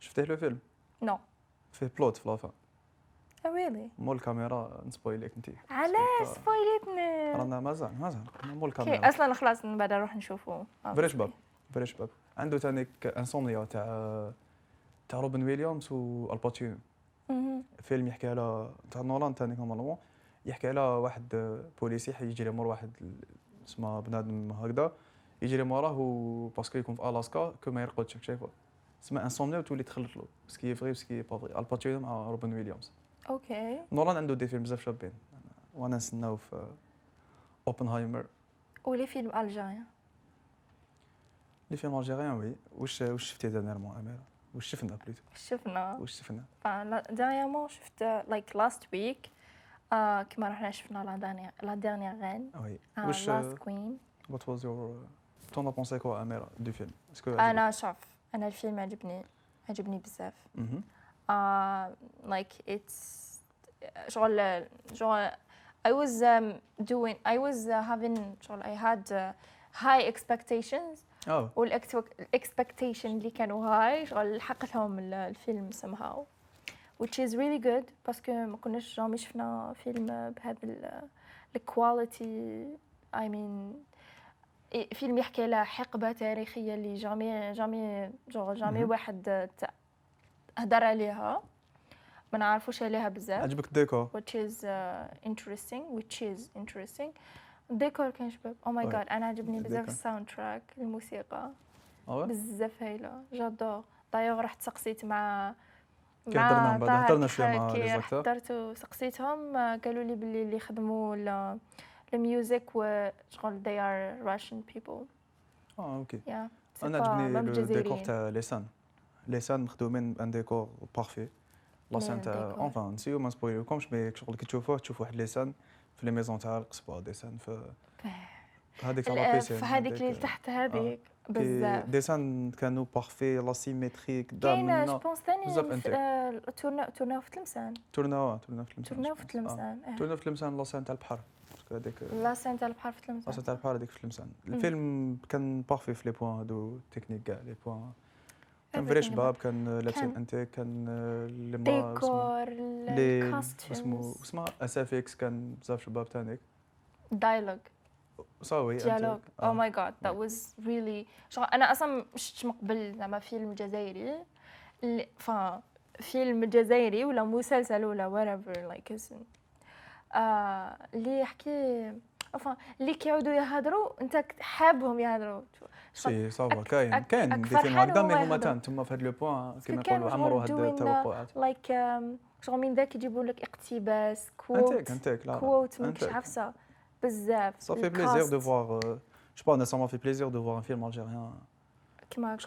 Speaker 3: شفتيه لو فيلم
Speaker 2: نو
Speaker 3: فيه بلوت في لافان
Speaker 2: ويلي
Speaker 3: مول الكاميرا نسبويليك انت
Speaker 2: Oh, علاش
Speaker 3: سمعتها.
Speaker 2: سبويلتنا
Speaker 3: رانا مازال مازال مول
Speaker 2: كي
Speaker 3: الكاميرا
Speaker 2: اصلا خلاص من بعد نروح نشوفه
Speaker 3: فري شباب فري شباب عنده ثاني انسومنيا تاع تاع روبن ويليامز والباتشينو
Speaker 2: مهم.
Speaker 3: فيلم يحكي على تاع نولان تاني نورمالمون يحكي على واحد آه، بوليسي حي- يجري مور واحد ال- اسمه بنادم هكذا يجري موراه و- باسكو يكون في الاسكا كو ما يرقدش هاك شايفه تسمى انسومنيا وتولي تخلط له سكي فري سكي با فري الباتشينو مع روبن ويليامز
Speaker 2: اوكي
Speaker 3: نولان عنده دي فيلم بزاف شابين وانا نستناو في آه، اوبنهايمر
Speaker 2: ولي فيلم الجيريان
Speaker 3: لي فيلم الجيريان وي واش واش شفتي دانيرمون اميره واش شفنا بليتو
Speaker 2: شفنا
Speaker 3: واش شفنا
Speaker 2: دانيامون شفت لايك لاست ويك كما آه، رحنا شفنا لا دانيير لا دانيير غان
Speaker 3: وي واش
Speaker 2: لاست كوين
Speaker 3: وات واز يور تون بونسي كوا اميره دو فيلم اسكو
Speaker 2: انا شوف انا الفيلم عجبني عجبني بزاف
Speaker 3: mm-hmm.
Speaker 2: آه، like it's شغل شغل I was um, doing I was uh, having شغل I had uh, high expectations
Speaker 3: اه
Speaker 2: وال expectation اللي كانوا هاي شغل حققهم ال- الفيلم somehow which is really good باسكو ما كناش جامي شفنا فيلم بهذا ال- ال quality I mean إيه، فيلم يحكي على حقبة تاريخية اللي جامي جامي جامي, جامي
Speaker 3: مهم.
Speaker 2: واحد ت- هدر عليها ما نعرفوش عليها بزاف
Speaker 3: عجبك الديكور
Speaker 2: which is uh, interesting which is interesting الديكور كان شباب Oh او ماي
Speaker 3: طيب.
Speaker 2: جاد انا عجبني بزاف
Speaker 3: الديكور.
Speaker 2: الساوند تراك الموسيقى
Speaker 3: اه وي؟
Speaker 2: بزاف هايله جادور دايوغ رحت سقسيت مع
Speaker 3: كي هدرنا من بعد،
Speaker 2: طه
Speaker 3: هدرنا شوية
Speaker 2: الكحل،
Speaker 3: مع
Speaker 2: كي
Speaker 3: les
Speaker 2: رحت
Speaker 3: acteurs.
Speaker 2: هدرت وسقسيتهم آه، قالوا لي باللي اللي خدموا ال- الميوزك و شغل they are Russian people
Speaker 3: اه اوكي
Speaker 2: yeah سي
Speaker 3: انا
Speaker 2: با-
Speaker 3: عجبني
Speaker 2: مام
Speaker 3: لو ديكور
Speaker 2: جزائريين.
Speaker 3: تاع لسان لسان مخدومين بان ديكور بارفي لاسان
Speaker 2: مي
Speaker 3: تاع
Speaker 2: ديكور.
Speaker 3: اونفان نسيو ما نسبويلكمش مي شغل كي تشوفوه تشوف واحد لسان في لي ميزون تاع القصبه ديسان في هذيك تاع
Speaker 2: ال-
Speaker 3: لابيسين
Speaker 2: في هذيك اللي تحت
Speaker 3: آه،
Speaker 2: هذيك بزاف
Speaker 3: ديسان كانوا بارفي لا سيميتريك
Speaker 2: كاينه جو
Speaker 3: دام
Speaker 2: بونس ثاني
Speaker 3: بزاف
Speaker 2: الف-
Speaker 3: انتيك.
Speaker 2: آه، تورنا تورناو في تلمسان
Speaker 3: تورناو تورناو في تلمسان آه،
Speaker 2: تورناو في تلمسان آه.
Speaker 3: تورناو في تلمسان لاسان تاع البحر باسكو هذيك
Speaker 2: لا سان تاع البحر في
Speaker 3: لاسان
Speaker 2: تلمسان
Speaker 3: تاع البحر هذيك في تلمسان الفيلم كان بارفي في لي بوان هادو تكنيك كاع لي بوان كان فري
Speaker 2: Everything
Speaker 3: شباب كان
Speaker 2: كان-
Speaker 3: لابسين انتيك كان اللي ما اسمه-
Speaker 2: ديكور
Speaker 3: لي اسمه
Speaker 2: الكاستيومز
Speaker 3: اسمها اسافيكس كان بزاف شباب تانيك
Speaker 2: دايلوج
Speaker 3: صاوي
Speaker 2: ديالوج او ماي جاد ذات
Speaker 3: آه. Yeah.
Speaker 2: واز ريلي انا اصلا ما شفتش من قبل زعما فيلم جزائري اللي- ف فيلم جزائري ولا مسلسل ولا whatever لايك آه اللي يحكي enfin اللي كيعودوا يهضروا انت كت- حابهم يهضروا
Speaker 3: سي صافا
Speaker 2: أك-
Speaker 3: كاين
Speaker 2: أك-
Speaker 3: كاين
Speaker 2: أك
Speaker 3: دي فيلم
Speaker 2: فرحان
Speaker 3: هكذا مي
Speaker 2: وهو
Speaker 3: هما
Speaker 2: يهضر.
Speaker 3: تان تما في هاد لو بوان كيما
Speaker 2: كانوا
Speaker 3: يقولوا
Speaker 2: شغل
Speaker 3: عمروا هاد
Speaker 2: doing the-
Speaker 3: التوقعات
Speaker 2: لايك شغل من ذاك يجيبوا لك اقتباس
Speaker 3: انتيك
Speaker 2: كوت
Speaker 3: انتيك لا، لا
Speaker 2: كوت ماكش
Speaker 3: انتيك.
Speaker 2: عفسه بزاف
Speaker 3: Ça fait plaisir
Speaker 2: الكاست
Speaker 3: de voir. euh, je pense, ça m'a fait plaisir de voir un film algérien.
Speaker 2: كيما هكا.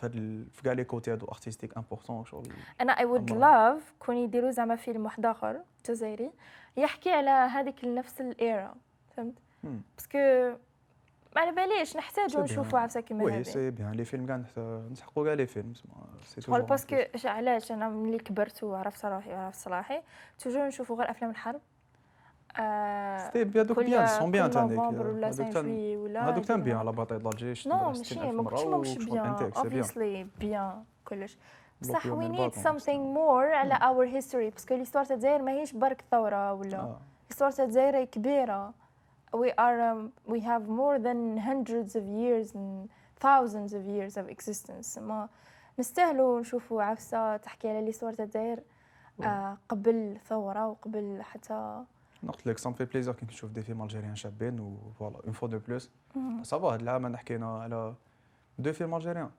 Speaker 3: Je regarde les côtés artistiques importants. شغل-
Speaker 2: انا اي وود
Speaker 3: الله.
Speaker 2: لاف كون يديروا زعما فيلم واحد اخر جزائري يحكي على هذيك نفس الايرا فهمت
Speaker 3: مم.
Speaker 2: باسكو ما على باليش نحتاجو
Speaker 3: أمم. سي
Speaker 2: نشوفوا
Speaker 3: بيان.
Speaker 2: عفسه كيما
Speaker 3: Oui,
Speaker 2: هذه
Speaker 3: c'est bien. Les films, كاع نحت- نسحقوا كاع les films. C'est
Speaker 2: شغل
Speaker 3: toujours un
Speaker 2: باسكو
Speaker 3: plus.
Speaker 2: ش- علاش انا ملي كبرت وعرفت روحي وعرفت صلاحي توجور نشوفوا غير افلام الحرب آه،
Speaker 3: سيتي بيان دوك
Speaker 2: كل
Speaker 3: بيان سون بيان
Speaker 2: كل
Speaker 3: تاع هذيك
Speaker 2: نوفمبر ولا
Speaker 3: هذوك تاع
Speaker 2: سانجوي ولا
Speaker 3: هذوك تاع بيان
Speaker 2: يديروها.
Speaker 3: على باطي دالجي شفت
Speaker 2: نو
Speaker 3: دابا
Speaker 2: ماشي
Speaker 3: 60 ألف
Speaker 2: ما
Speaker 3: مرة
Speaker 2: كنتش ما كنتش
Speaker 3: وشغل
Speaker 2: بيان
Speaker 3: انتيك، سي بيان.
Speaker 2: اوبفيسلي بيان كلش
Speaker 3: بلوكيو
Speaker 2: بصح وي
Speaker 3: من
Speaker 2: نيد
Speaker 3: الباطون.
Speaker 2: سامثينغ مور على اور هيستوري باسكو ليستوار تاع الجزائر ماهيش برك ثوره ولا
Speaker 3: آه.
Speaker 2: ليستوار تاع الجزائر راهي كبيره we are um, we have more than hundreds of years and thousands of years of existence ما نستاهلوا نشوفوا عفسه تحكي على ليستوار تاع الجزائر آه، قبل ثوره وقبل حتى
Speaker 3: انا قلت لك سام في بليزير كي نشوف دي فيلم الجيريان شابين وفوالا اون فوا دو بلوس صافا هاد العام انا حكينا على دو فيلم الجيريان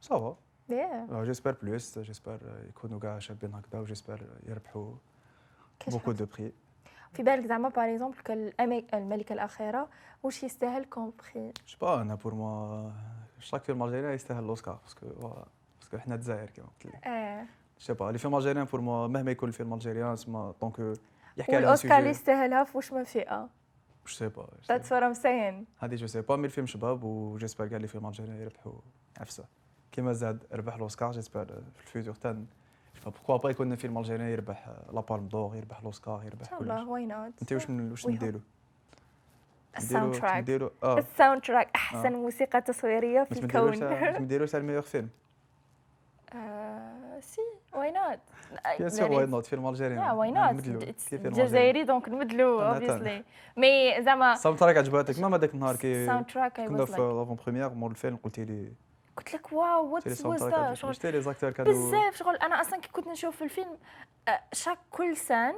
Speaker 3: صافا
Speaker 2: yeah.
Speaker 3: جيسبر بلوس جيسبر يكونوا كاع شابين هكذا وجيسبر يربحوا
Speaker 2: كاش
Speaker 3: بوكو دو بري
Speaker 2: في بالك زعما باغ اكزومبل الملكه الاخيره واش يستاهل كوم بخي
Speaker 3: جو با انا بور موا شاك فيلم الجيريان يستاهل الاوسكار باسكو باسكو حنا الجزائر كيما قلت لك
Speaker 2: اه
Speaker 3: جو با لي فيلم الجيريان بور موا مهما يكون الفيلم الجيريان تسمى طونكو يحكي على
Speaker 2: والاوسكار اللي
Speaker 3: سوجي
Speaker 2: يستاهلها في آه. واش من فئه
Speaker 3: جو سي با جو
Speaker 2: ذاتس
Speaker 3: سي با.
Speaker 2: وات ام سين
Speaker 3: هذه جو سي با مي الفيلم شباب وجيسبر كاع لي فيلم الجيريان يربحوا عفسه كيما زاد ربح الاوسكار جيسبر في الفيوتور تاعنا بوركوا با يكون فيلم الجيريان يربح لا بالم دور يربح الاوسكار
Speaker 2: ان
Speaker 3: يربح
Speaker 2: شاء
Speaker 3: كلش
Speaker 2: الله واي نوت
Speaker 3: انت واش من- واش
Speaker 2: We hope.
Speaker 3: نديرو
Speaker 2: الساوند تراك
Speaker 3: نديرو اه
Speaker 2: الساوند تراك
Speaker 3: آه.
Speaker 2: احسن موسيقى تصويريه في
Speaker 3: باش نديروش
Speaker 2: الكون
Speaker 3: باش نديروش تاع الميور فيلم
Speaker 2: آه، سي واي نوت
Speaker 3: بيان سور واي نوت فيلم الجيريان
Speaker 2: يا واي نوت جزائري دونك نبدلو
Speaker 3: أنا
Speaker 2: اوبسلي مي زعما
Speaker 3: الساوند تراك عجبتك ماما داك النهار كي
Speaker 2: الساوند تراك I was
Speaker 3: كنا في
Speaker 2: like-
Speaker 3: لافون بروميير مور الفيلم قلتي لي
Speaker 2: قلت لك واو
Speaker 3: قلتي لي
Speaker 2: واتس
Speaker 3: الساوند
Speaker 2: واز
Speaker 3: تراك
Speaker 2: ذا
Speaker 3: عجبتك.
Speaker 2: شغل
Speaker 3: شفتي لي زاكتور كانوا
Speaker 2: بزاف شغل انا اصلا كي كنت نشوف الفيلم آه، شاك كل سان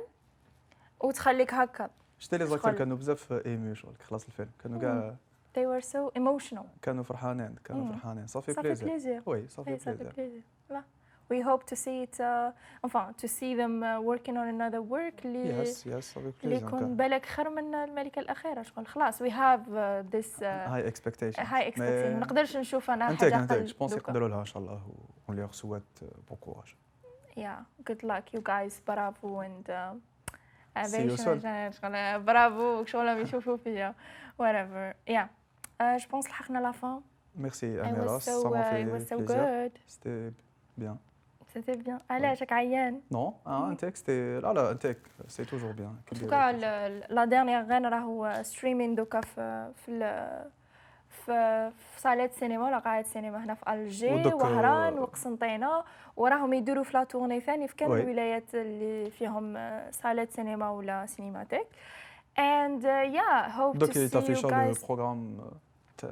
Speaker 2: وتخليك هكا
Speaker 3: شفتي لي زاكتور
Speaker 2: شغل.
Speaker 3: كانوا بزاف ايمي شغل خلاص الفيلم كانوا كاع
Speaker 2: they were so emotional
Speaker 3: كانوا فرحانين كانوا
Speaker 2: مم.
Speaker 3: فرحانين صافي
Speaker 2: صافي
Speaker 3: بليزير
Speaker 2: بليزير
Speaker 3: وي صافي
Speaker 2: Oui, ça fait
Speaker 3: بليزير
Speaker 2: plaisir. Voilà. We hope to see it, uh, enfin, to see them uh, working on another work اللي
Speaker 3: يس يس صافي
Speaker 2: اللي
Speaker 3: بليزير
Speaker 2: يكون بالك خير من الملكة الأخيرة شغل خلاص we have uh, this uh,
Speaker 3: هاي اكسبكتيشن
Speaker 2: high expectation ما نقدرش نشوف أنا
Speaker 3: انتيك
Speaker 2: حاجة
Speaker 3: انتيك
Speaker 2: أقل
Speaker 3: جو بونس
Speaker 2: دوكا.
Speaker 3: يقدروا لها ان شاء الله اون ليغ سوات بون كوراج
Speaker 2: Yeah, good luck you guys برافو and uh,
Speaker 3: See you
Speaker 2: عباية
Speaker 3: soon.
Speaker 2: شغل- شغل برافو شغل يشوفوا فيا whatever yeah uh, je pense لحقنا la fin
Speaker 3: ميرسي
Speaker 2: it
Speaker 3: اميرا
Speaker 2: was so
Speaker 3: سا
Speaker 2: uh, it
Speaker 3: مون
Speaker 2: was
Speaker 3: في
Speaker 2: so
Speaker 3: بليزير
Speaker 2: good
Speaker 3: سيتي بيان
Speaker 2: c'était bien علاش راك عيان
Speaker 3: نو اه انتيك سيتي لا لا انتيك سي توجور بيان
Speaker 2: En tout cas, le- la dernière reine راهو ستريمين دوكا في في ال- في في صالة السينما ولا قاعة السينما هنا في ألجي
Speaker 3: ودوك-
Speaker 2: وهران وقسنطينة وراهم يديروا في لا تورني ثاني في كامل
Speaker 3: وي.
Speaker 2: الولايات اللي فيهم آه، صالة سينما ولا سينماتيك and uh, yeah hope
Speaker 3: دوك
Speaker 2: to see you
Speaker 3: يتافيشا لو
Speaker 2: guys
Speaker 3: بروغرام تاع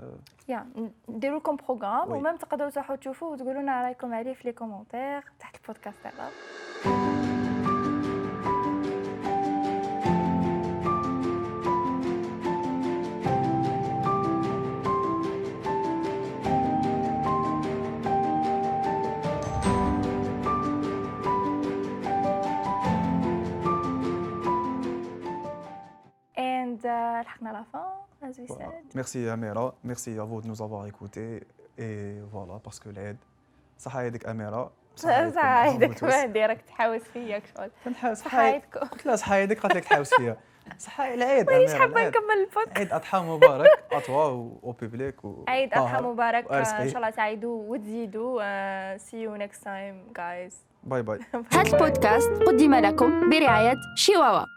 Speaker 2: yeah نديروا لكم بروغرام
Speaker 3: وي.
Speaker 2: ومام تقدروا تروحوا تشوفوا وتقولوا لنا رايكم عليه في لي كومونتير تحت البودكاست تاعنا and uh, لحقنا لا فان as we
Speaker 3: Voilà.
Speaker 2: said
Speaker 3: Merci Amira, merci à vous de nous avoir écoutés. Et voilà, parce que l'aide, ça aide Amira.
Speaker 2: صح يدك ما نديرك تحاوس فيك شغل
Speaker 3: صحايدك
Speaker 2: صحايدكم
Speaker 3: قلت لها صحايدك قالت لك تحاوس فيها صحايد العيد
Speaker 2: مانيش
Speaker 3: أميرة،
Speaker 2: حابه
Speaker 3: العيد.
Speaker 2: نكمل البودكاست
Speaker 3: عيد اضحى مبارك اتوا او بيبليك و
Speaker 2: عيد اضحى
Speaker 3: طاهر.
Speaker 2: مبارك
Speaker 3: وأرزقي.
Speaker 2: ان شاء الله تعيدوا وتزيدوا آه، سي يو نيكست تايم جايز
Speaker 3: باي باي
Speaker 1: هذا البودكاست قدم لكم برعاية شيواوا